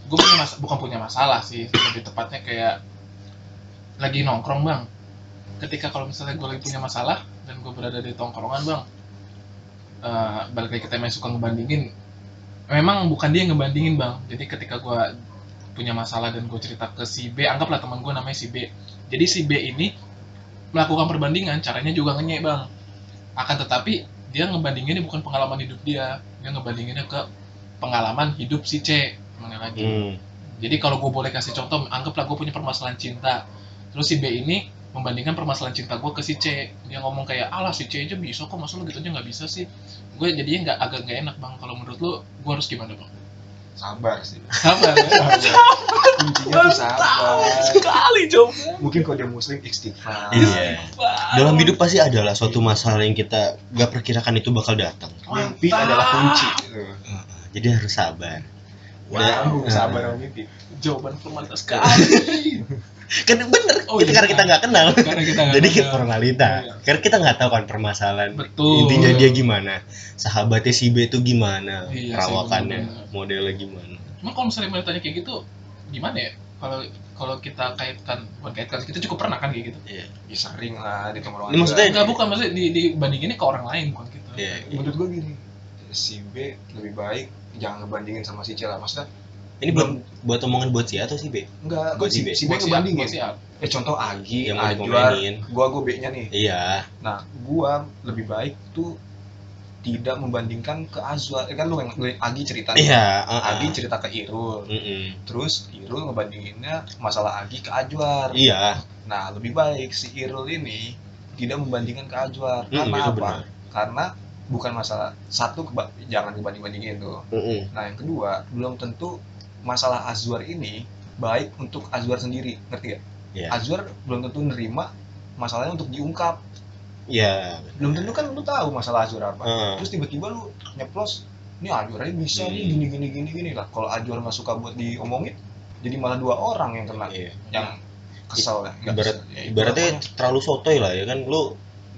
Speaker 1: Gue punya mas- bukan punya masalah sih, lebih tepatnya kayak lagi nongkrong, Bang. Ketika kalau misalnya gue lagi punya masalah dan gue berada di tongkrongan, Bang. eh, balik lagi ke tema yang suka ngebandingin. Memang bukan dia yang ngebandingin, Bang. Jadi ketika gue punya masalah dan gue cerita ke si B, anggaplah teman gue namanya si B. Jadi si B ini melakukan perbandingan, caranya juga ngenyek, Bang akan tetapi dia ngebandinginnya bukan pengalaman hidup dia dia ngebandinginnya ke pengalaman hidup si C temannya lagi
Speaker 2: Hmm.
Speaker 1: jadi kalau gue boleh kasih contoh anggaplah gue punya permasalahan cinta terus si B ini membandingkan permasalahan cinta gue ke si C dia ngomong kayak alah si C aja bisa kok masa lu gitu aja nggak bisa sih gue jadinya nggak agak nggak enak bang kalau menurut lu gue harus gimana *laughs* bang
Speaker 3: sabar sih
Speaker 1: sabar ya
Speaker 3: Sabar. kuncinya tuh sabar
Speaker 1: sekali coba
Speaker 3: mungkin kalau dia muslim istighfar
Speaker 2: Iya. Dalam hidup pasti adalah suatu masalah yang kita gak perkirakan itu bakal datang.
Speaker 3: mimpi adalah kunci gitu.
Speaker 2: Iya. Jadi harus sabar.
Speaker 3: wow
Speaker 2: Udah.
Speaker 3: sabar sama mimpi
Speaker 1: jawaban formalitas sekali
Speaker 2: Kan bener,
Speaker 1: Oh,
Speaker 2: kita-
Speaker 1: iya.
Speaker 2: karena kita nggak kenal.
Speaker 1: karena kita nggak
Speaker 2: *laughs* Jadi kita
Speaker 1: kenal.
Speaker 2: formalita.
Speaker 1: Iya.
Speaker 2: Karena kita nggak tahu kan permasalahan.
Speaker 1: betul
Speaker 2: Intinya dia gimana, sahabatnya si B itu gimana,
Speaker 1: Iya, saya
Speaker 2: perawakannya,
Speaker 1: bener-bener.
Speaker 2: modelnya gimana.
Speaker 1: Cuma kalau misalnya mau tanya kayak gitu, gimana ya? Kalau kalau kita kaitkan, bukan kaitkan, kita cukup pernah kan kayak gitu.
Speaker 3: ya sering lah di tongkrongan
Speaker 2: Ini maksudnya-
Speaker 1: Enggak bukan maksudnya di, dibandinginnya ke orang lain bukan kita.
Speaker 2: Iya.
Speaker 3: juga. menurut gue gini si B lebih baik jangan ngebandingin sama si C lah maksudnya
Speaker 2: Ini buat buat omongan buat si A atau si B?
Speaker 3: enggak
Speaker 2: Buat si
Speaker 3: si,
Speaker 2: B.
Speaker 3: si B
Speaker 1: Buat siap, buat
Speaker 3: ngebandingin
Speaker 1: siap.
Speaker 3: eh contoh Agi
Speaker 2: Yang mau
Speaker 3: Ajuar
Speaker 2: dikomenin.
Speaker 3: gua gua B nya nih
Speaker 2: Iya.
Speaker 3: nah gua lebih baik tuh tidak membandingkan ke Azwar Eh, kan lu yang lu yang Agi cerita nih.
Speaker 2: Iya. ah, ah.
Speaker 3: Agi cerita ke Irul
Speaker 2: Mm-mm.
Speaker 3: terus Irul ngebandinginnya masalah Agi ke Ajwar
Speaker 2: Iya.
Speaker 3: nah lebih baik si Irul ini tidak membandingkan ke Ajwar
Speaker 2: Mm-mm,
Speaker 3: karena
Speaker 2: Hmm, itu
Speaker 3: apa
Speaker 2: benar.
Speaker 3: karena bukan masalah satu keba- jangan dibanding bandingin tuh
Speaker 2: Mm-mm.
Speaker 3: nah yang kedua belum tentu masalah Azwar ini baik untuk Azwar sendiri ngerti gak?
Speaker 2: Iya.
Speaker 3: Azwar belum tentu nerima masalahnya untuk diungkap
Speaker 2: Iya.
Speaker 3: belum tentu kan lu tahu masalah Azwar apa
Speaker 2: Ah.
Speaker 3: terus tiba-tiba lu nyeplos ini Azwar aja bisa nih
Speaker 2: Hmm.
Speaker 3: gini gini gini gini lah kalau Azwar nggak suka buat diomongin jadi malah dua orang yang kena
Speaker 2: Iya.
Speaker 3: yang kesel lah nggak
Speaker 2: Ibarat-
Speaker 3: kesel. Ya, itu
Speaker 2: Ibaratnya
Speaker 3: namanya.
Speaker 2: terlalu sotoy lah ya kan lu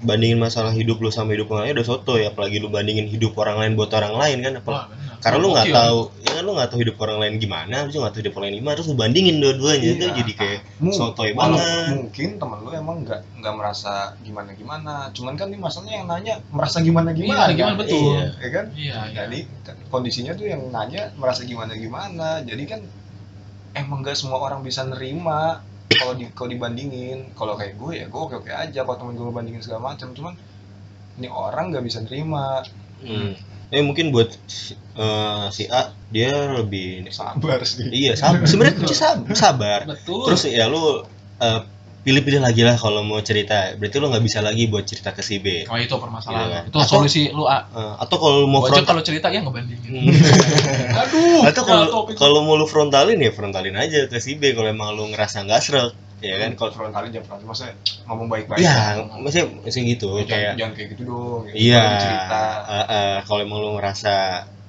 Speaker 2: bandingin masalah hidup lu sama hidup orang lain udah sotoy apalagi lu bandingin hidup orang lain buat orang lain kan apalagi
Speaker 1: Wah, benar.
Speaker 2: karena lu nggak
Speaker 1: Gokil.
Speaker 2: tahu ya kan lu nggak tahu hidup orang lain gimana lu juga nggak tahu hidup orang lain gimana terus lu bandingin dua-duanya itu
Speaker 3: Iya.
Speaker 2: jadi kayak
Speaker 3: Mu-
Speaker 2: sotoy
Speaker 3: Walau
Speaker 2: banget
Speaker 3: mungkin temen lu emang nggak nggak merasa gimana gimana, cuman kan ini masalahnya yang nanya merasa gimana gimana,
Speaker 1: Iya, gimana, betul.
Speaker 2: Iya.
Speaker 3: ya kan?
Speaker 1: Iya, iya.
Speaker 3: Jadi kan- kondisinya tuh yang nanya merasa gimana gimana, jadi kan emang nggak semua orang bisa nerima kalau di kalau dibandingin, kalau kayak gue ya gue oke oke aja, kalau temen gue bandingin segala macam, cuman ini orang nggak bisa nerima,
Speaker 2: Hmm. eh mungkin buat eh, si A dia lebih
Speaker 3: sabar sih.
Speaker 2: iya sabar sebenarnya kunci sab- sabar
Speaker 1: Betul.
Speaker 2: terus ya lu eh, pilih-pilih lagi lah kalau mau cerita berarti lu nggak bisa lagi buat cerita ke si B
Speaker 1: oh, itu permasalahan.
Speaker 2: Iya.
Speaker 1: Itu
Speaker 2: Atau-
Speaker 1: solusi lu A.
Speaker 2: Eh, atau kalau lu mau
Speaker 1: Gua aja
Speaker 2: front
Speaker 1: kalau cerita ya ngebandingin.
Speaker 2: Hmm.
Speaker 1: Aduh.
Speaker 2: atau
Speaker 1: jatuh
Speaker 2: kalau
Speaker 1: Nah, topik.
Speaker 2: kalau mau lu frontalin ya frontalin aja ke si B kalau emang lu ngerasa nggak srek ya kan kalau
Speaker 3: Iya kalau kali jangan pernah, maksudnya ngomong baik-baik.
Speaker 2: ya maksudnya maksudnya gitu
Speaker 3: jangan,
Speaker 2: kayak
Speaker 3: jangan kayak gitu dong. gitu.
Speaker 2: iya
Speaker 3: Kalau Cerita.
Speaker 2: eh, eh, kalau emang lu ngerasa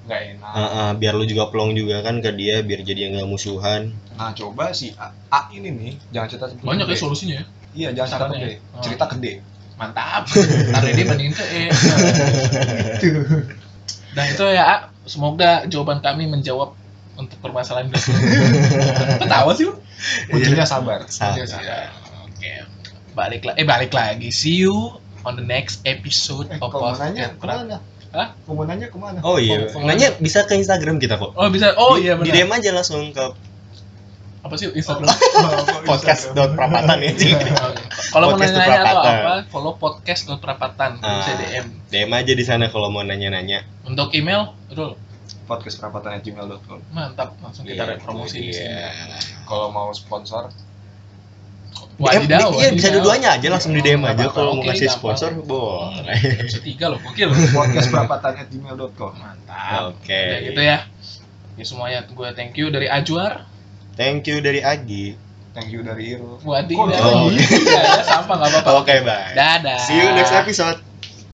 Speaker 3: nggak enak
Speaker 2: Ah, ah, biar lu juga plong juga kan ke dia biar jadi nggak musuhan
Speaker 3: nah coba si A, A ini nih jangan cerita sama
Speaker 1: banyak
Speaker 3: B.
Speaker 1: ya solusinya ya
Speaker 3: iya jangan cerita ke
Speaker 1: Caranya. Oh.
Speaker 3: B. cerita ke D
Speaker 2: Iya.
Speaker 1: *laughs* mantap karena dia bandingin ke
Speaker 2: *laughs*
Speaker 1: E Gitu. nah itu ya A. semoga jawaban kami menjawab untuk permasalahan
Speaker 2: *laughs*
Speaker 1: dasar ketawa sih lu
Speaker 3: kuncinya sabar
Speaker 2: salah
Speaker 1: Ya, oke balik lagi eh balik lagi see you on the next episode
Speaker 3: eh,
Speaker 1: of
Speaker 3: kau mau
Speaker 1: Podcast
Speaker 3: nanya
Speaker 1: Ekrang. Ya,
Speaker 3: kemana
Speaker 1: Hah?
Speaker 3: kau mau nanya kemana
Speaker 2: oh
Speaker 3: *laughs*
Speaker 2: iya
Speaker 1: Oh,
Speaker 2: nanya bisa ke Instagram kita kok
Speaker 1: oh bisa oh
Speaker 2: Di-
Speaker 1: iya
Speaker 2: di
Speaker 1: benar
Speaker 2: DM aja langsung ke
Speaker 1: apa sih *laughs* Instagram
Speaker 2: podcast dot perapatan
Speaker 1: *laughs*
Speaker 2: ya cing.
Speaker 1: Iya.
Speaker 2: *laughs*
Speaker 1: kalau mau
Speaker 2: Podcast
Speaker 1: nanya atau
Speaker 2: Perapatan.
Speaker 1: apa follow podcast dot perapatan bisa
Speaker 2: Ah.
Speaker 1: DM
Speaker 2: DM aja di sana kalau mau nanya-nanya
Speaker 1: untuk email Rul
Speaker 3: podcast perapatan gmail.com
Speaker 1: mantap langsung kita
Speaker 2: Iya,
Speaker 1: promosi di
Speaker 2: itu
Speaker 1: sini
Speaker 2: dia.
Speaker 3: kalau mau sponsor
Speaker 2: DM,
Speaker 1: Wadidaw,
Speaker 2: iya
Speaker 1: wadidaw. Iya,
Speaker 2: bisa dua-duanya aja langsung di DM aja
Speaker 1: Apa-apa,
Speaker 2: kalau mau
Speaker 1: oke,
Speaker 2: ngasih
Speaker 1: gampang.
Speaker 2: sponsor
Speaker 1: Hmm,
Speaker 2: boleh
Speaker 1: episode tiga loh
Speaker 2: *laughs*
Speaker 1: gokil
Speaker 3: podcast perapatan gmail.com
Speaker 1: mantap
Speaker 2: Oke.
Speaker 1: udah gitu ya ya semuanya gue thank you dari Ajuar
Speaker 2: thank you dari Agi
Speaker 3: thank you dari Hiro
Speaker 1: Wadidaw
Speaker 3: Kok
Speaker 2: *laughs*
Speaker 1: iya ya, sampah nggak apa-apa
Speaker 2: oke bye
Speaker 1: dadah
Speaker 2: see you next episode